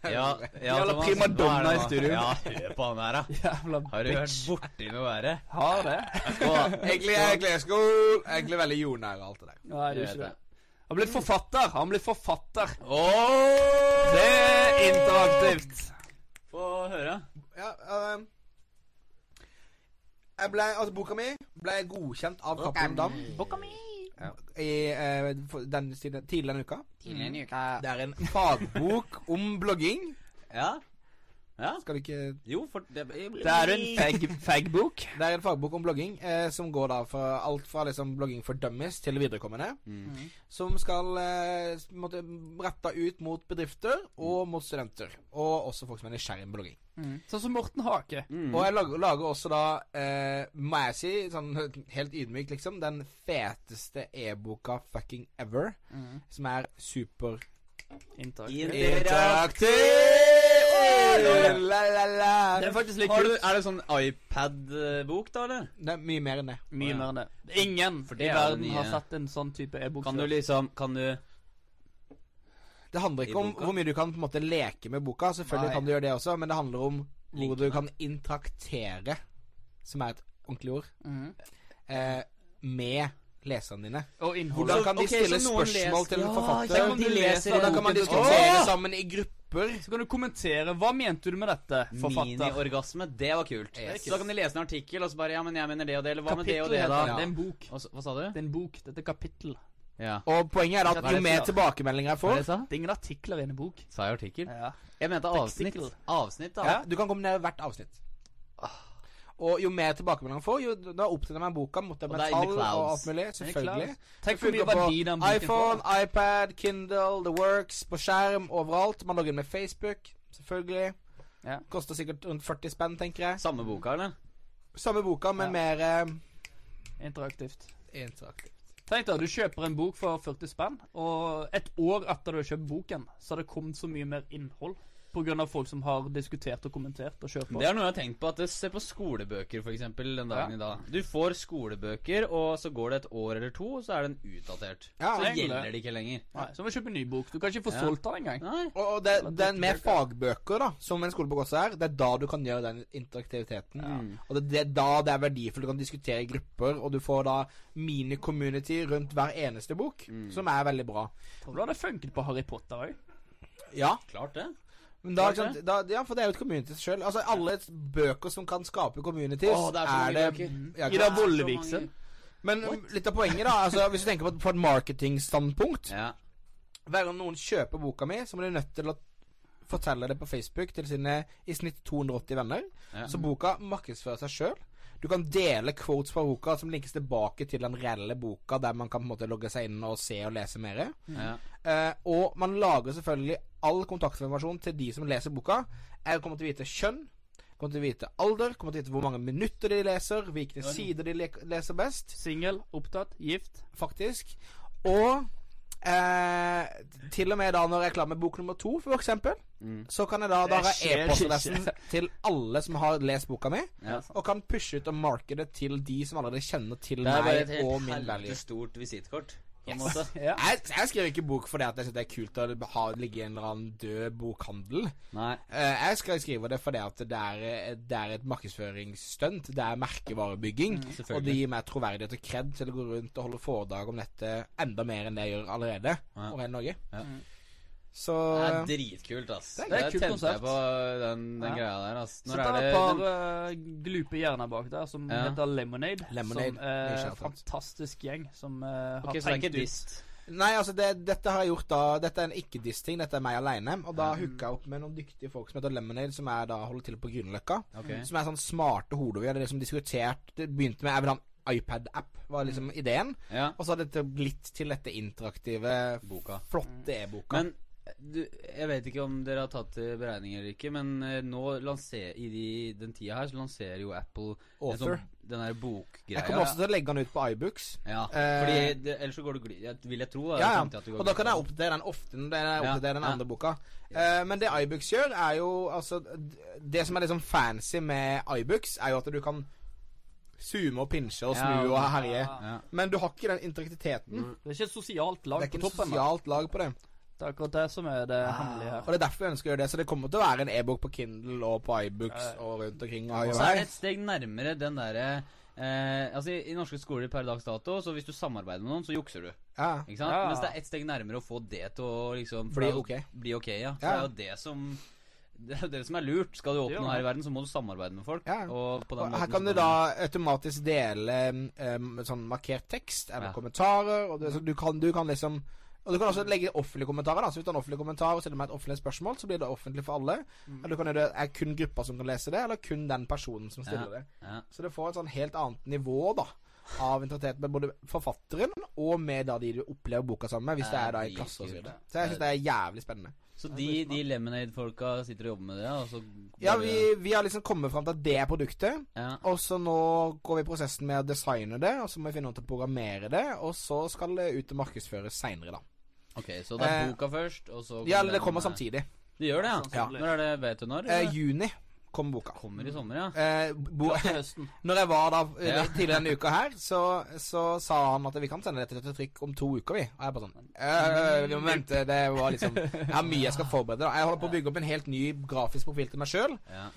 [SPEAKER 4] Ja, ja,
[SPEAKER 1] Jævla
[SPEAKER 4] Thomas,
[SPEAKER 1] primadonna
[SPEAKER 4] hva er det
[SPEAKER 1] i
[SPEAKER 4] nå?
[SPEAKER 1] studio.
[SPEAKER 4] Ja, hør på han der, da.
[SPEAKER 1] Jævla
[SPEAKER 4] Har du vært borti noe verre?
[SPEAKER 1] Har det?
[SPEAKER 4] Å,
[SPEAKER 2] Egentlig er Gleskog egentlig veldig jordnær og alt det der.
[SPEAKER 1] Nei, det er
[SPEAKER 4] Jeg vet
[SPEAKER 1] ikke det.
[SPEAKER 4] det.
[SPEAKER 1] Han ble forfatter. Han ble forfatter.
[SPEAKER 4] Åh!
[SPEAKER 1] Det er interaktivt.
[SPEAKER 4] Få høre.
[SPEAKER 2] Ja, ehm, jeg ble, altså Boka mi ble godkjent av Cappelen Dam i eh, for- den siden- tidligere denne uka. Det er en fagbok om blogging.
[SPEAKER 4] Ja? Ja?
[SPEAKER 2] Skal du ikke
[SPEAKER 4] Jo, for det,
[SPEAKER 1] Det er en fag- fagbok.
[SPEAKER 2] Det er en fagbok om blogging eh, som går da fra alt fra liksom blogging for dummies til viderekommende. Som skal eh, s- på en måte rette ut mot bedrifter og mot studenter. Og også folk som er nysgjerrig på blogging.
[SPEAKER 1] Sånn som Morten Hake.
[SPEAKER 2] Og jeg lager, lager også da, eh, må jeg si, sånn helt ydmykt liksom, den feteste e-boka fucking ever. Som er super
[SPEAKER 1] Interaktivt.
[SPEAKER 2] interaktiv! La, la, la.
[SPEAKER 1] Det er faktisk litt
[SPEAKER 4] Har du,
[SPEAKER 1] kult.
[SPEAKER 4] er det sånn iPad-bok, da, eller?
[SPEAKER 2] Det er mye mer enn det.
[SPEAKER 1] Mye mer enn det. Ingen
[SPEAKER 4] det
[SPEAKER 1] i
[SPEAKER 4] er jo
[SPEAKER 1] verden
[SPEAKER 4] nye-
[SPEAKER 1] har sett en sånn type e-bok.
[SPEAKER 4] Kan
[SPEAKER 1] før.
[SPEAKER 4] du liksom Kan du
[SPEAKER 2] Det handler ikke om
[SPEAKER 4] E-boka.
[SPEAKER 2] hvor mye du kan på en måte leke med boka. Selvfølgelig
[SPEAKER 1] Nei.
[SPEAKER 2] kan du gjøre det også, men det handler om hvor du kan intraktere, som er et ordentlig ord, eh, med leserne dine.
[SPEAKER 1] Og innhold.
[SPEAKER 2] Hvordan kan de
[SPEAKER 4] ok, så
[SPEAKER 2] stille
[SPEAKER 4] noen
[SPEAKER 2] spørsmål
[SPEAKER 4] leser-
[SPEAKER 2] til en
[SPEAKER 4] Ja,
[SPEAKER 2] forfatter?
[SPEAKER 4] ikke sant, de leser
[SPEAKER 2] Hvordan kan man
[SPEAKER 4] boken til
[SPEAKER 2] diskutere
[SPEAKER 4] Åh!
[SPEAKER 2] sammen i grupper?
[SPEAKER 1] Så kan du kommentere. Hva mente du med dette, forfatter?
[SPEAKER 4] Miniorgasme, det var kult.
[SPEAKER 2] Yes.
[SPEAKER 4] Så da kan de lese en artikkel, og så bare Ja, men jeg mener det og det, eller hva med det og
[SPEAKER 1] Kapittel
[SPEAKER 4] det,
[SPEAKER 1] heter
[SPEAKER 4] da?
[SPEAKER 1] det.
[SPEAKER 4] Ja.
[SPEAKER 1] Det er en bok.
[SPEAKER 4] Og så, hva sa du?
[SPEAKER 1] Det er en bok. Dette er kapittel.
[SPEAKER 4] Ja.
[SPEAKER 2] Og poenget er
[SPEAKER 1] Hva
[SPEAKER 2] at
[SPEAKER 1] er
[SPEAKER 2] jo
[SPEAKER 1] det
[SPEAKER 2] mer
[SPEAKER 1] for noe?
[SPEAKER 2] tilbakemeldinger jeg
[SPEAKER 4] Hva
[SPEAKER 2] får
[SPEAKER 4] er det jeg sa?
[SPEAKER 1] Det er ingen artikler i en bok.
[SPEAKER 4] Sa jeg artikkel?
[SPEAKER 1] Ja.
[SPEAKER 4] Jeg mente avsnitt.
[SPEAKER 1] Tekstikkel.
[SPEAKER 4] Avsnitt, da.
[SPEAKER 2] ja, Du kan kombinere hvert avsnitt. Og jo mer tilbakemeldinger jeg får, jo da oppdaterer man boka. Måtte
[SPEAKER 4] Og
[SPEAKER 2] med
[SPEAKER 4] det er in the
[SPEAKER 2] tall og
[SPEAKER 4] clouds.
[SPEAKER 2] alt mulig. Selvfølgelig.
[SPEAKER 1] Tenk hvor mye
[SPEAKER 2] Funker på
[SPEAKER 1] verdi den boken
[SPEAKER 2] iPhone,
[SPEAKER 1] får.
[SPEAKER 2] iPad, Kindle, The Works, på skjerm, overalt. Man logger inn med Facebook, selvfølgelig.
[SPEAKER 1] Ja.
[SPEAKER 2] Koster sikkert rundt 40 spenn, tenker jeg.
[SPEAKER 4] Samme boka, eller?
[SPEAKER 2] Samme boka, men
[SPEAKER 1] Ja.
[SPEAKER 2] mer eh,
[SPEAKER 1] Interaktivt.
[SPEAKER 2] interaktiv.
[SPEAKER 1] Tenk deg, du kjøper en bok for 40 spenn, og et år etter du har kjøpt boken, så har det kommet så mye mer innhold. På grunn av folk som har diskutert og kommentert og kjørt på.
[SPEAKER 4] Det er noe jeg har tenkt på. at det- Se på skolebøker, for eksempel, den dagen
[SPEAKER 1] Ja.
[SPEAKER 4] i dag. Du får skolebøker, og så går det et år eller to, og så er den utdatert.
[SPEAKER 2] Ja,
[SPEAKER 4] så
[SPEAKER 1] egentlig.
[SPEAKER 4] gjelder det ikke lenger.
[SPEAKER 1] Nei, så må du kjøpe en ny bok. Du kan ikke få
[SPEAKER 4] Ja.
[SPEAKER 1] solgt den engang.
[SPEAKER 4] Nei.
[SPEAKER 2] Og og det,
[SPEAKER 1] Eller
[SPEAKER 2] det er med
[SPEAKER 1] tenkebøker.
[SPEAKER 2] fagbøker, da, som en skolebok også er, det er da du kan gjøre den interaktiviteten. Og det, det er da det er verdifullt. Du kan diskutere i grupper, og du får da mini-community rundt hver eneste bok,
[SPEAKER 4] Mm.
[SPEAKER 2] som er veldig bra.
[SPEAKER 1] Tror du det hadde funket på Harry Potter òg?
[SPEAKER 2] Ja,
[SPEAKER 4] Klart det.
[SPEAKER 2] men da,
[SPEAKER 4] Klart
[SPEAKER 2] ikke sant, da, ja for det er jo et community sjøl. Altså, alle bøker som kan skape communities,
[SPEAKER 4] Åh, det er så mange bøker.
[SPEAKER 2] ja, ikke
[SPEAKER 1] Ida
[SPEAKER 2] sant?
[SPEAKER 1] Volleviksen.
[SPEAKER 2] Men um, litt av poenget, da, altså, hvis du tenker på, på et marketingstandpunkt
[SPEAKER 4] Ja.
[SPEAKER 2] Hver gang noen kjøper boka mi, så må de nødt til å fortelle det på Facebook til sine i snitt 280 venner.
[SPEAKER 4] Ja.
[SPEAKER 2] Så boka markedsfører seg sjøl. Du kan dele quotes fra boka som linkes tilbake til den reelle boka, der man kan på en måte logge seg inn og se og lese mer.
[SPEAKER 4] ja.
[SPEAKER 2] Eh, og man lager selvfølgelig all kontaktinformasjon til de som leser boka. Jeg kommer til å vite kjønn, kommer til å vite alder, kommer til å vite hvor mange minutter de leser, hvilke sider de le- leser best
[SPEAKER 1] Singel, opptatt, gift.
[SPEAKER 2] faktisk. Og eh, til og med da når jeg er klar med bok nummer to, for eksempel,
[SPEAKER 4] Mm.
[SPEAKER 2] så kan jeg da, da
[SPEAKER 1] Det
[SPEAKER 2] ha
[SPEAKER 1] skjer
[SPEAKER 2] e-postadressen
[SPEAKER 1] ikke.
[SPEAKER 2] til alle som har lest boka mi,
[SPEAKER 4] Ja.
[SPEAKER 2] og kan pushe ut og markede til de som allerede kjenner til
[SPEAKER 4] Det er bare et
[SPEAKER 2] meg og
[SPEAKER 4] helt
[SPEAKER 2] min
[SPEAKER 4] helvete
[SPEAKER 2] value.
[SPEAKER 4] stort visittkort. På en måte.
[SPEAKER 1] Ja.
[SPEAKER 2] Jeg, jeg skriver ikke bok fordi at jeg syns det er kult å ha, ligge i en eller annen død bokhandel.
[SPEAKER 4] Nei.
[SPEAKER 2] Eh, jeg skal skrive det fordi at det er, eh, det er et markedsføringsstunt. Det er merkevarebygging.
[SPEAKER 4] Mm, selvfølgelig.
[SPEAKER 2] og det gir meg troverdighet og kred til å gå rundt og holde foredrag om dette enda mer enn det jeg gjør allerede.
[SPEAKER 4] Ja.
[SPEAKER 2] Over hele Norge.
[SPEAKER 4] Ja.
[SPEAKER 2] Så
[SPEAKER 4] Det er dritkult, ass.
[SPEAKER 1] Det er et kult
[SPEAKER 4] tente jeg
[SPEAKER 1] konsept.
[SPEAKER 4] på den, den
[SPEAKER 1] Ja.
[SPEAKER 4] greia der, ass.
[SPEAKER 1] Så
[SPEAKER 4] Når
[SPEAKER 1] det
[SPEAKER 4] er
[SPEAKER 1] er
[SPEAKER 4] det
[SPEAKER 1] et par
[SPEAKER 4] den,
[SPEAKER 1] eh, glupe hjerner bak der som
[SPEAKER 4] Ja.
[SPEAKER 1] heter Lemonade.
[SPEAKER 2] Lemonade,
[SPEAKER 1] Som er
[SPEAKER 2] mye
[SPEAKER 1] en
[SPEAKER 2] kjærlighet.
[SPEAKER 1] fantastisk gjeng som eh,
[SPEAKER 4] Ok, så
[SPEAKER 1] har
[SPEAKER 4] det er ikke
[SPEAKER 1] tenkt ut
[SPEAKER 4] dist.
[SPEAKER 2] Nei, altså, det, dette har jeg gjort da Dette er en ikke-diss-ting. Dette er meg aleine. Og da hooka jeg opp med noen dyktige folk som heter Lemonade, som er da holder til på Grünerløkka.
[SPEAKER 4] Ok.
[SPEAKER 2] Som er sånn smarte hoder. Vi hadde liksom diskutert Det begynte med Jeg vil ha en iPad-app, var
[SPEAKER 4] Mm.
[SPEAKER 2] liksom ideen.
[SPEAKER 4] Ja.
[SPEAKER 2] Og så har dette blitt til dette interaktive,
[SPEAKER 4] Boka.
[SPEAKER 2] flotte e-boka.
[SPEAKER 4] Men du, jeg vet ikke om dere har tatt til beregning eller ikke, men eh, nå lanser, i de, den tida her så lanserer jo Apple en
[SPEAKER 2] Author.
[SPEAKER 4] sånn- den der bokgreia.
[SPEAKER 2] Jeg kommer også til å legge den ut på iBooks.
[SPEAKER 4] Ja,
[SPEAKER 2] Eh,
[SPEAKER 4] fordi det, ellers så går du glipp Jeg vil jeg tro. da,
[SPEAKER 2] Ja, ja.
[SPEAKER 4] samtidig at du går
[SPEAKER 2] Og da
[SPEAKER 4] glipp
[SPEAKER 2] kan jeg
[SPEAKER 4] av-
[SPEAKER 2] oppdatere den ofte når jeg oppdaterer den
[SPEAKER 4] ja.
[SPEAKER 2] andre boka. Eh, men det iBooks gjør, er jo altså d- Det som er liksom fancy med iBooks, er jo at du kan zoome og pinche og snu
[SPEAKER 4] Ja, Mm,
[SPEAKER 2] og herje.
[SPEAKER 4] ja.
[SPEAKER 2] Men du har ikke den interaktiviteten.
[SPEAKER 1] Det er ikke et sosialt
[SPEAKER 2] Det
[SPEAKER 1] lag
[SPEAKER 2] er ikke
[SPEAKER 1] på
[SPEAKER 2] et
[SPEAKER 1] toppen. da.
[SPEAKER 2] sosialt lag på det.
[SPEAKER 1] Det er akkurat det som er det
[SPEAKER 4] Ah.
[SPEAKER 1] hemmelige
[SPEAKER 2] Og
[SPEAKER 1] her.
[SPEAKER 2] det er derfor jeg ønsker å gjøre det. Så det kommer til å være en e-bok på Kindle og på iBooks og rundt omkring. Og,
[SPEAKER 4] Og så er
[SPEAKER 2] og,
[SPEAKER 4] det et steg nærmere den derre eh, Altså, i, i norske skoler per dags dato, så hvis du samarbeider med noen, så jukser du.
[SPEAKER 2] ja.
[SPEAKER 4] Ikke sant?
[SPEAKER 1] Ja.
[SPEAKER 4] Mens det er ett steg nærmere å få det til å liksom for
[SPEAKER 2] Bli
[SPEAKER 4] det er jo-
[SPEAKER 2] ok.
[SPEAKER 4] Bli ok, ja. For
[SPEAKER 2] Ja.
[SPEAKER 4] Det er jo det som Det er jo det som er lurt. Skal du oppnå
[SPEAKER 1] Jo.
[SPEAKER 4] noe her i verden, så må du samarbeide med folk.
[SPEAKER 2] Ja.
[SPEAKER 4] Og på den
[SPEAKER 2] Og
[SPEAKER 4] måten
[SPEAKER 2] Her kan
[SPEAKER 4] så
[SPEAKER 2] du da automatisk dele em, sånn markert tekst eller
[SPEAKER 4] Ja.
[SPEAKER 2] kommentarer. Og det, så du, kan, du kan liksom Og du kan også legge offentlige kommentarer. da Så Hvis du har en offentlig kommentar og stiller meg et offentlig spørsmål, så blir det offentlig for alle. Eller du kan gjøre det er kun gruppa som kan lese det, eller kun den personen som stiller det.
[SPEAKER 4] ja.
[SPEAKER 2] Så det får et sånn helt annet nivå da av intensitet med både forfatteren og med da de du opplever boka sammen med, hvis det er da i klasse og så videre. Så jeg syns det er jævlig spennende.
[SPEAKER 4] Så de, de Lemonade-folka sitter og jobber med det, ja, og så
[SPEAKER 2] Ja,
[SPEAKER 4] bare-
[SPEAKER 2] vi, vi har liksom kommet fram til at det er produktet.
[SPEAKER 4] ja.
[SPEAKER 2] Og så nå går vi i prosessen med å designe det, og så må vi finne noen til å programmere det, og så skal det ut og markedsføres seinere, da.
[SPEAKER 4] Ok, så det er
[SPEAKER 2] Eh,
[SPEAKER 4] boka først, og så kommer
[SPEAKER 2] Ja, eller det
[SPEAKER 4] den,
[SPEAKER 2] kommer
[SPEAKER 4] eh,
[SPEAKER 2] samtidig.
[SPEAKER 4] Det gjør det, ja.
[SPEAKER 1] Sannsynlig.
[SPEAKER 4] Når er det Vet du når?
[SPEAKER 2] Eh,
[SPEAKER 4] eller?
[SPEAKER 2] juni kommer boka.
[SPEAKER 4] kommer i sommer, ja.
[SPEAKER 2] Eh, bo,
[SPEAKER 1] Til høsten.
[SPEAKER 2] når jeg var da eh,
[SPEAKER 4] Ja.
[SPEAKER 2] tidligere denne uka her, så, så sa han at vi kan sende dette til trykk om to uker, vi. Og jeg bare sånn eh, Vi må vente. Det var liksom Jeg har mye jeg skal forberede. da Jeg holder på å bygge opp en helt ny grafisk profil til meg sjøl.
[SPEAKER 4] ja.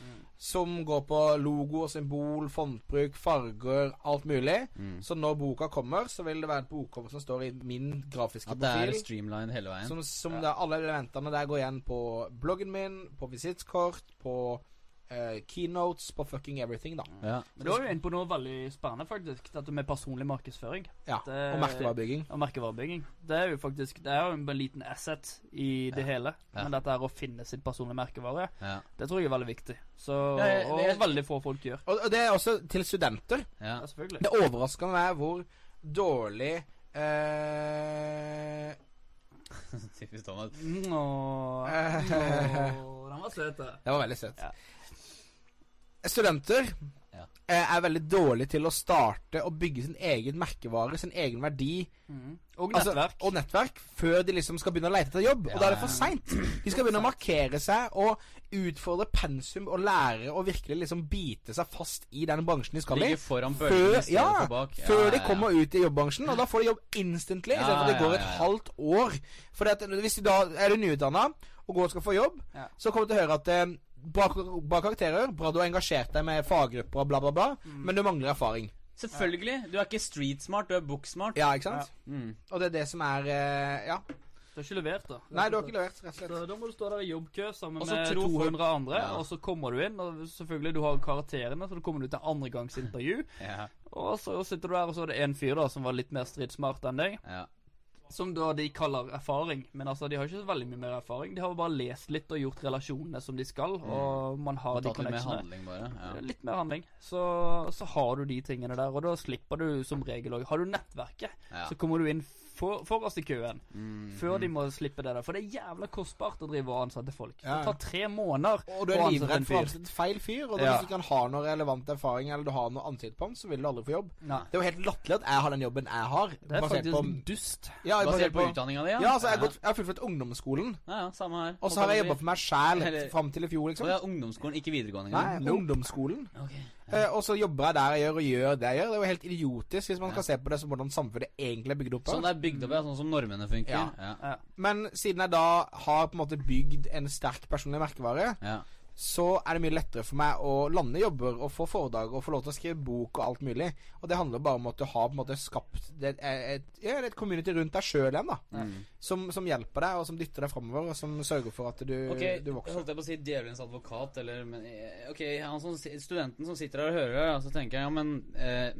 [SPEAKER 2] som går på logo og symbol, fontbruk, farger, alt mulig.
[SPEAKER 4] Mm.
[SPEAKER 2] Så når boka kommer, så vil det være et bokcover som står i min grafiske
[SPEAKER 4] At det er
[SPEAKER 2] profil.
[SPEAKER 4] streamline hele veien.
[SPEAKER 2] Som, som da alle elementene der går igjen på bloggen min, på visittkort, på eh, keynotes, på fucking everything, da.
[SPEAKER 4] Ja.
[SPEAKER 1] Men du var jo inne på noe veldig spennende, faktisk. Dette med personlig markedsføring
[SPEAKER 2] Ja,
[SPEAKER 1] Det-
[SPEAKER 2] Og merkevarebygging.
[SPEAKER 1] og merkevarebygging. Det er jo faktisk Det er jo en liten asset i det hele.
[SPEAKER 4] Ja.
[SPEAKER 1] Men dette her å finne sitt personlige merkevare,
[SPEAKER 4] Ja.
[SPEAKER 1] det tror jeg er veldig viktig. Så,
[SPEAKER 4] Ja, jeg-
[SPEAKER 1] og
[SPEAKER 4] jeg-
[SPEAKER 1] veldig få folk gjør.
[SPEAKER 2] Og, og det er også til studenter.
[SPEAKER 4] Ja.
[SPEAKER 1] Ja, selvfølgelig.
[SPEAKER 2] Det overrasker meg hvor dårlig eh,
[SPEAKER 4] Typisk Thomas.
[SPEAKER 1] Nå, nå, den var søt, det.
[SPEAKER 2] Det var veldig søtt.
[SPEAKER 1] Ja.
[SPEAKER 2] Studenter
[SPEAKER 4] Ja.
[SPEAKER 2] eh, er veldig dårlige til å starte og bygge sin egen merkevare, sin egen verdi
[SPEAKER 4] Mm.
[SPEAKER 1] Mhm. Og
[SPEAKER 2] altså,
[SPEAKER 1] nettverk.
[SPEAKER 2] og nettverk før de liksom skal begynne å lete etter jobb.
[SPEAKER 4] Ja,
[SPEAKER 2] og da er det
[SPEAKER 4] ja.
[SPEAKER 2] for seint. De skal begynne å markere seg og utfordre pensum og lære å virkelig liksom bite seg fast i den bransjen de skal i.
[SPEAKER 4] Ligger foran bølgen
[SPEAKER 2] Før,
[SPEAKER 4] i stedet
[SPEAKER 2] ja,
[SPEAKER 4] for bak. Ja,
[SPEAKER 2] før
[SPEAKER 4] ja,
[SPEAKER 2] de
[SPEAKER 4] ja.
[SPEAKER 2] kommer ut i jobbbransjen, og da får de jobb instantly.
[SPEAKER 4] Ja,
[SPEAKER 2] istedenfor at det
[SPEAKER 4] ja,
[SPEAKER 2] går
[SPEAKER 4] ja,
[SPEAKER 2] et
[SPEAKER 4] ja.
[SPEAKER 2] halvt år. For hvis du da er du nyutdanna og går og skal få jobb,
[SPEAKER 1] Ja.
[SPEAKER 2] så kommer du til å høre at eh, bra, bra karakterer, bra du har engasjert deg med faggrupper og bla, bla, bla, men du mangler erfaring.
[SPEAKER 4] Selvfølgelig. Du er ikke streetsmart, du er booksmart.
[SPEAKER 2] Ja, ikke sant?
[SPEAKER 4] Mm.
[SPEAKER 2] Og det er det som er eh, Ja.
[SPEAKER 1] Du har ikke levert, da.
[SPEAKER 2] Nei, du har ikke levert, rett og slett.
[SPEAKER 1] Så da må du stå der i jobbkø sammen
[SPEAKER 4] Og så
[SPEAKER 1] med
[SPEAKER 4] tror folk-
[SPEAKER 1] 200 andre,
[SPEAKER 4] Ja.
[SPEAKER 1] og så kommer du inn, og selvfølgelig du har karakterene, så du kommer du til andregangsintervju,
[SPEAKER 4] Ja.
[SPEAKER 1] og så sitter du der, og så er det en fyr da som var litt mer stridsmart enn deg,
[SPEAKER 4] Ja.
[SPEAKER 1] som da de kaller erfaring, men altså de har ikke så veldig mye mer erfaring, de har bare lest litt og gjort relasjonene som de skal,
[SPEAKER 2] Mm.
[SPEAKER 1] og man har
[SPEAKER 4] Og
[SPEAKER 1] de
[SPEAKER 4] tatt litt mer
[SPEAKER 1] connectionene.
[SPEAKER 4] handling, bare. Ja.
[SPEAKER 1] Eh, Litt mer handling. Så, så har du de tingene der, og da slipper du som regel òg. Har du nettverket,
[SPEAKER 4] Ja.
[SPEAKER 1] så kommer du inn for, forrest i køen.
[SPEAKER 4] Mm.
[SPEAKER 1] Før
[SPEAKER 2] Mm.
[SPEAKER 1] de må slippe det der. For det er jævla kostbart å drive og ansette folk.
[SPEAKER 2] Ja, ja.
[SPEAKER 1] Det tar tre måneder
[SPEAKER 2] Og du er
[SPEAKER 1] å ansette
[SPEAKER 2] livredd
[SPEAKER 1] en
[SPEAKER 2] for å
[SPEAKER 1] fyr.
[SPEAKER 2] ansette feil fyr, og da
[SPEAKER 1] Ja.
[SPEAKER 2] hvis du ikke har noe relevant erfaring eller du har noe ansikt på ham, så vil du aldri få jobb.
[SPEAKER 1] Nei.
[SPEAKER 2] Det er jo helt latterlig at jeg har den jobben jeg har.
[SPEAKER 1] Det er
[SPEAKER 2] basert
[SPEAKER 1] faktisk
[SPEAKER 2] på,
[SPEAKER 1] dust.
[SPEAKER 2] ja,
[SPEAKER 4] Basert på utdanninga di,
[SPEAKER 2] Ja, altså, jeg har, gått, jeg har fullført ungdomsskolen.
[SPEAKER 4] Ja, ja, samme her.
[SPEAKER 2] Og så har jeg jobba for meg sjæl
[SPEAKER 4] Eller-
[SPEAKER 2] fram til i fjor,
[SPEAKER 4] Og
[SPEAKER 2] liksom.
[SPEAKER 4] det er ungdomsskolen, ikke videregående
[SPEAKER 2] Nei,
[SPEAKER 4] engang.
[SPEAKER 2] ungdomsskolen.
[SPEAKER 4] Ok.
[SPEAKER 2] Eh, og så jobber jeg der jeg gjør, og gjør det jeg gjør. Det er jo helt idiotisk hvis man skal se på det som hvordan samfunnet egentlig er bygd opp. av.
[SPEAKER 4] Sånn det er bygd opp, ja. Sånn som normene funker.
[SPEAKER 2] Ja.
[SPEAKER 4] Ja.
[SPEAKER 1] Ja.
[SPEAKER 2] Men siden jeg da har på en måte bygd en sterk personlig merkevare,
[SPEAKER 4] Ja.
[SPEAKER 2] så er det mye lettere for meg å lande jobber og få foredrag og få lov til å skrive bok og alt mulig. Og det handler bare om at du har på en måte skapt det, er et, ja, det er et community rundt deg sjøl igjen, da. Som, som hjelper deg, og som dytter deg framover, og som sørger for at du,
[SPEAKER 4] Ok,
[SPEAKER 2] du vokser.
[SPEAKER 4] holdt jeg på å si djevelens advokat, eller men, eh, Ok, han som, si- studenten som sitter her og hører, her, så tenker jeg ja, men eh,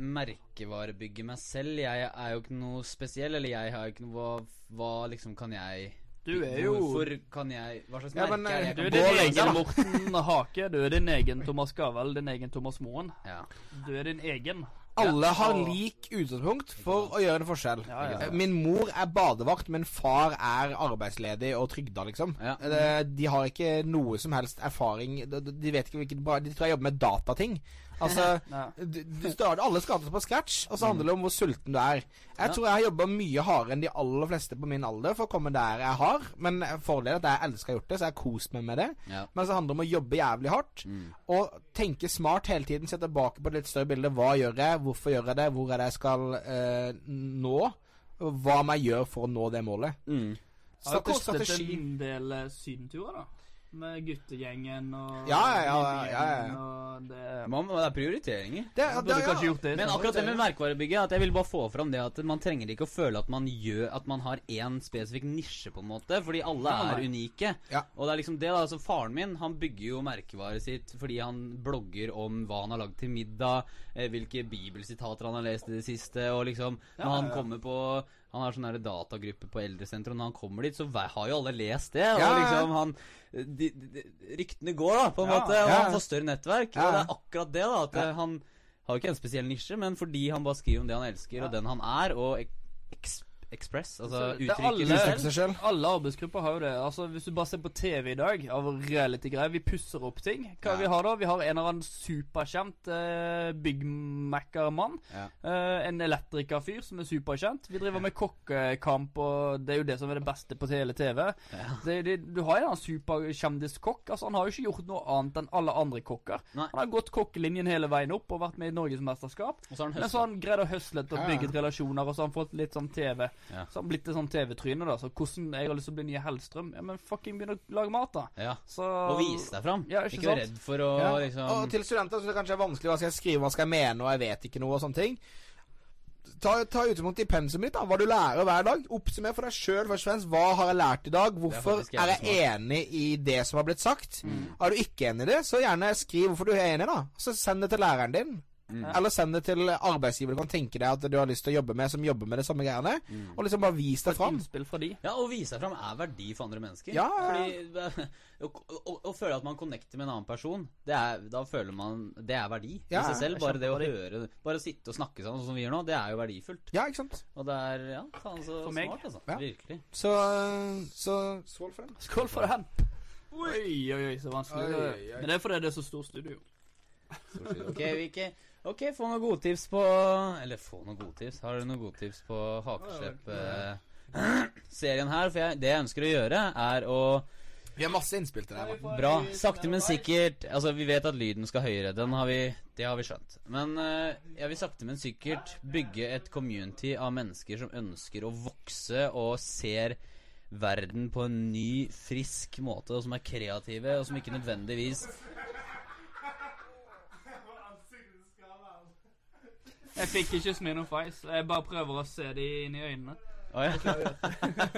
[SPEAKER 4] merkevarebygge meg selv, jeg er jo ikke noe spesiell, eller jeg har jo ikke noe Hva, hva liksom kan jeg
[SPEAKER 1] Du er jo
[SPEAKER 4] Hvorfor kan jeg Hva slags
[SPEAKER 2] Ja,
[SPEAKER 4] merke
[SPEAKER 2] men,
[SPEAKER 4] er jeg?
[SPEAKER 1] Du
[SPEAKER 2] eh,
[SPEAKER 4] kan
[SPEAKER 1] er din
[SPEAKER 2] Gå
[SPEAKER 4] gå
[SPEAKER 2] lenger, da.
[SPEAKER 1] egen Morten Hake. Du er din egen Thomas Gavel. Din egen Thomas Moen.
[SPEAKER 4] Ja.
[SPEAKER 1] Du er din egen.
[SPEAKER 2] Alle har
[SPEAKER 1] og-
[SPEAKER 2] lik utgangspunkt for å gjøre en forskjell.
[SPEAKER 1] Ja, ja.
[SPEAKER 2] Eh, Min mor er badevakt, men far er arbeidsledig og trygda, liksom.
[SPEAKER 4] Ja.
[SPEAKER 2] Eh, De har ikke noe som helst erfaring De de vet ikke hvilket bra- De tror jeg jobber med datating. Altså
[SPEAKER 1] Ja. Mm.
[SPEAKER 2] du, du starter, Alle skal på scratch, og så handler det om hvor sulten du er. Jeg tror jeg har jobba mye hardere enn de aller fleste på min alder for å komme der jeg har, men fordelen er at jeg elsker å ha gjort det, så jeg har kost meg med det.
[SPEAKER 4] Ja. Mm.
[SPEAKER 2] Men så handler det om å jobbe jævlig hardt og tenke smart hele tiden. Se tilbake på et litt større bilde. Hva gjør jeg? Hvorfor gjør jeg det? Hvor er det jeg skal eh, nå? Og Hva må jeg gjøre for å nå det målet?
[SPEAKER 4] Mm.
[SPEAKER 1] Har det
[SPEAKER 2] Strate-
[SPEAKER 1] kostet en del eh, sydenturer, da? Med guttegjengen og
[SPEAKER 2] Ja, ja, ja, ja, ja, ja.
[SPEAKER 1] Og det,
[SPEAKER 4] Man, det er prioriteringer.
[SPEAKER 2] Det,
[SPEAKER 1] Man
[SPEAKER 2] det,
[SPEAKER 1] burde kanskje gjort det.
[SPEAKER 4] Men akkurat det med merkevarebygget At jeg vil bare få fram det at man trenger ikke å føle at man gjør At man har én spesifikk nisje, på en måte. Fordi alle
[SPEAKER 1] Nei,
[SPEAKER 4] er
[SPEAKER 1] nei.
[SPEAKER 4] unike.
[SPEAKER 2] Ja.
[SPEAKER 4] Og det er liksom det da altså Faren min han bygger jo merkevaret sitt fordi han blogger om hva han har lagd til middag, eh, hvilke bibelsitater han har lest i det siste, og liksom Når han kommer på han har sånn der datagruppe på eldresenteret, og når han kommer dit, så ve- har jo alle lest det. Og
[SPEAKER 2] Ja, ja.
[SPEAKER 4] liksom han de, de, de, Ryktene går, da, på en
[SPEAKER 1] Ja.
[SPEAKER 4] måte. Og
[SPEAKER 2] Ja.
[SPEAKER 4] han får større nettverk.
[SPEAKER 2] Ja.
[SPEAKER 4] Og det er akkurat det, da. At eh, han har jo ikke en spesiell nisje, men fordi han bare skriver om det han elsker, og den han er, og eks Express, altså
[SPEAKER 1] Så det er alle-
[SPEAKER 4] uttrykker
[SPEAKER 1] Uttrykker
[SPEAKER 2] seg selv.
[SPEAKER 1] Alle arbeidsgrupper har jo det. Altså Hvis du bare ser på TV i dag, av reality-greier Vi pusser opp ting. Hva
[SPEAKER 4] Ja.
[SPEAKER 1] vi har da? Vi har en eller annen superkjent eh, Big Mac-mann.
[SPEAKER 4] Ja.
[SPEAKER 1] Eh, en elektrikerfyr som er superkjent. Vi driver med kokkekamp, og det er jo det som er det beste på hele TV. Det, det, du har en eller annen superkjendiskokk. Altså, han har jo ikke gjort noe annet enn alle andre kokker.
[SPEAKER 4] Nei.
[SPEAKER 1] Han har gått kokkelinjen hele veien opp og vært med i Norgesmesterskap.
[SPEAKER 4] Og så har han
[SPEAKER 1] Men så har han greid å høsle og
[SPEAKER 2] Ja, ja.
[SPEAKER 1] bygget relasjoner, og så har han fått litt sånn TV.
[SPEAKER 4] Ja.
[SPEAKER 1] Så har han blitt et sånn TV-tryne, da. Så hvordan jeg har lyst til å bli nye Hellstrøm? Ja, men fucking begynn å lage mat, da.
[SPEAKER 4] Ja.
[SPEAKER 1] Så
[SPEAKER 4] Og vise deg fram.
[SPEAKER 1] Ja, ikke
[SPEAKER 4] ikke vær
[SPEAKER 1] sant?
[SPEAKER 4] redd for å
[SPEAKER 2] Ja.
[SPEAKER 4] liksom
[SPEAKER 2] Og til studenter så er det kanskje vanskelig hva skal jeg skrive, hva skal jeg mene, og jeg vet ikke noe og sånne ting. Ta, ta utgangspunkt i pensumet ditt, da. Hva du lærer hver dag. Oppsummer for deg sjøl først og fremst. Hva har jeg lært i dag? Hvorfor
[SPEAKER 4] faktisk
[SPEAKER 2] er
[SPEAKER 4] jævlig
[SPEAKER 2] jeg enig i det som har blitt sagt? Er du ikke enig i det, så gjerne skriv hvorfor du er enig, da. Så send det til læreren din. Eller send det til arbeidsgiver du kan tenke deg at du har lyst til å jobbe med, som jobber med det samme greiene. Og liksom bare vis deg fram.
[SPEAKER 1] Innspill fra de.
[SPEAKER 4] Ja, Å vise seg fram er verdi for andre mennesker.
[SPEAKER 2] Ja,
[SPEAKER 4] Fordi Å å- å føle at man connecter med en annen person, det er, da føler man Det er verdi
[SPEAKER 2] Ja,
[SPEAKER 4] i seg selv. Bare det å
[SPEAKER 1] kjempeverdi.
[SPEAKER 4] høre Bare å sitte og snakke sammen sånn som vi gjør nå, det er jo verdifullt.
[SPEAKER 2] Ja, ikke sant.
[SPEAKER 4] Og det er Ja, faen så
[SPEAKER 1] For meg.
[SPEAKER 4] smart, altså.
[SPEAKER 2] Ja.
[SPEAKER 4] Virkelig.
[SPEAKER 2] Så, så Skål for den.
[SPEAKER 1] Skål for den! Oi, oi, oi, så vanskelig. det er.
[SPEAKER 2] Oi, oi.
[SPEAKER 1] Men det er fordi det er så stor studio.
[SPEAKER 4] Ok, vi ikke Ok, få noen godtips på Eller få noen godtips. Har du noen godtips på hakeslepp-serien her? For jeg, det jeg ønsker å gjøre, er å
[SPEAKER 2] Vi har masse innspill til deg.
[SPEAKER 4] Bra. Sakte, men sikkert Altså, vi vet at lyden skal høyere. Den har vi Det har vi skjønt. Men eh, jeg vil sakte, men sikkert bygge et community av mennesker som ønsker å vokse og ser verden på en ny, frisk måte, og som er kreative, og som ikke nødvendigvis
[SPEAKER 1] Jeg fikk ikke Smirnoff Ice. Jeg bare prøver å se de inn i øynene.
[SPEAKER 4] Å ja.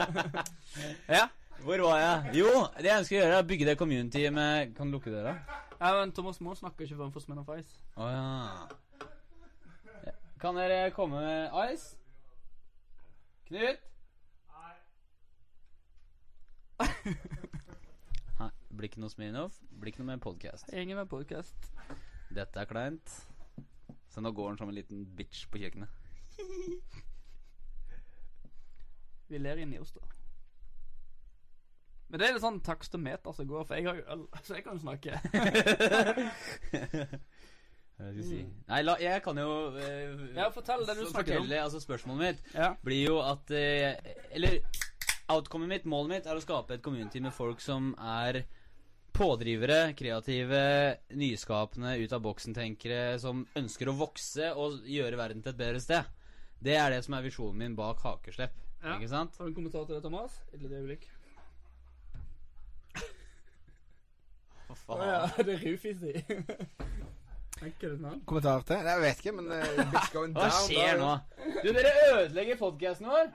[SPEAKER 4] ja. Hvor var jeg? Jo, det jeg ønsker å gjøre, er å bygge det community med Kan du lukke døra?
[SPEAKER 1] Ja, men Thomas Moe snakker ikke før han får Smirnoff Ice.
[SPEAKER 4] Å ja. Kan dere komme med ice? Knut? Nei. Blir ikke noe Smirnov. Blir ikke noe mer podkast.
[SPEAKER 1] Jeg henger med podcast.
[SPEAKER 4] Dette er kleint. Så nå går han som en liten bitch på kjøkkenet.
[SPEAKER 1] Vi ler inni oss, da. Men det er litt sånn takstometer som går, for jeg har jo øl, så jeg kan jo snakke.
[SPEAKER 4] Hva skal jeg si? Nei, la, jeg kan jo eh,
[SPEAKER 1] Ja, fortell det du
[SPEAKER 4] så
[SPEAKER 1] snakker om.
[SPEAKER 4] fortelle, Altså Spørsmålet mitt
[SPEAKER 1] Ja.
[SPEAKER 4] blir jo at eh, Eller outcomet mitt, målet mitt, er å skape et community med folk som er pådrivere, kreative, nyskapende, ut av boksen-tenkere, som ønsker å vokse og gjøre verden til et bedre sted. Det er det som er visjonen min bak Hakeslepp.
[SPEAKER 1] Ja.
[SPEAKER 4] Ikke sant?
[SPEAKER 1] Har du en kommentar til det, Thomas? Et lite øyeblikk.
[SPEAKER 4] Hva
[SPEAKER 1] Å
[SPEAKER 4] faen?
[SPEAKER 1] ja, det er Rufis i. Tenker du sånn?
[SPEAKER 2] Kommentar til? Jeg vet ikke, men eh, bitch going
[SPEAKER 4] Hva
[SPEAKER 2] down.
[SPEAKER 4] skjer nå?
[SPEAKER 2] da.
[SPEAKER 4] Du, dere ødelegger podkasten vår!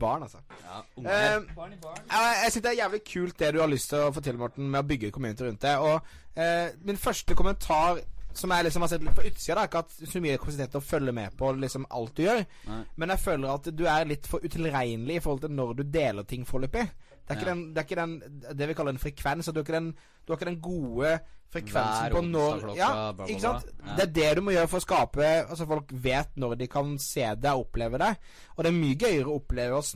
[SPEAKER 2] Barn, altså.
[SPEAKER 4] Ja,
[SPEAKER 2] Eh,
[SPEAKER 4] unger.
[SPEAKER 1] Barn i barn.
[SPEAKER 2] jeg jeg syns det er jævlig kult det du har lyst til å få til, Morten, med å bygge community rundt det. Og eh, min første kommentar som jeg liksom har sett litt på utsida, da, er ikke at så mye kapasitet til å følge med på liksom alt du gjør,
[SPEAKER 4] Nei.
[SPEAKER 2] men jeg føler at du er litt for utilregnelig i forhold til når du deler ting foreløpig. Det er, ikke
[SPEAKER 4] Ja.
[SPEAKER 2] den, det er ikke den det vi kaller en frekvens. At du, har ikke den, du har ikke den gode frekvensen
[SPEAKER 4] Hver
[SPEAKER 2] på når
[SPEAKER 4] onsdag klokka,
[SPEAKER 2] ja,
[SPEAKER 4] bla, bla,
[SPEAKER 2] ikke sant?
[SPEAKER 4] bla. Ja.
[SPEAKER 2] Det er det du må gjøre for å skape Altså folk vet når de kan se deg og oppleve deg. Og det er mye gøyere å oppleve oss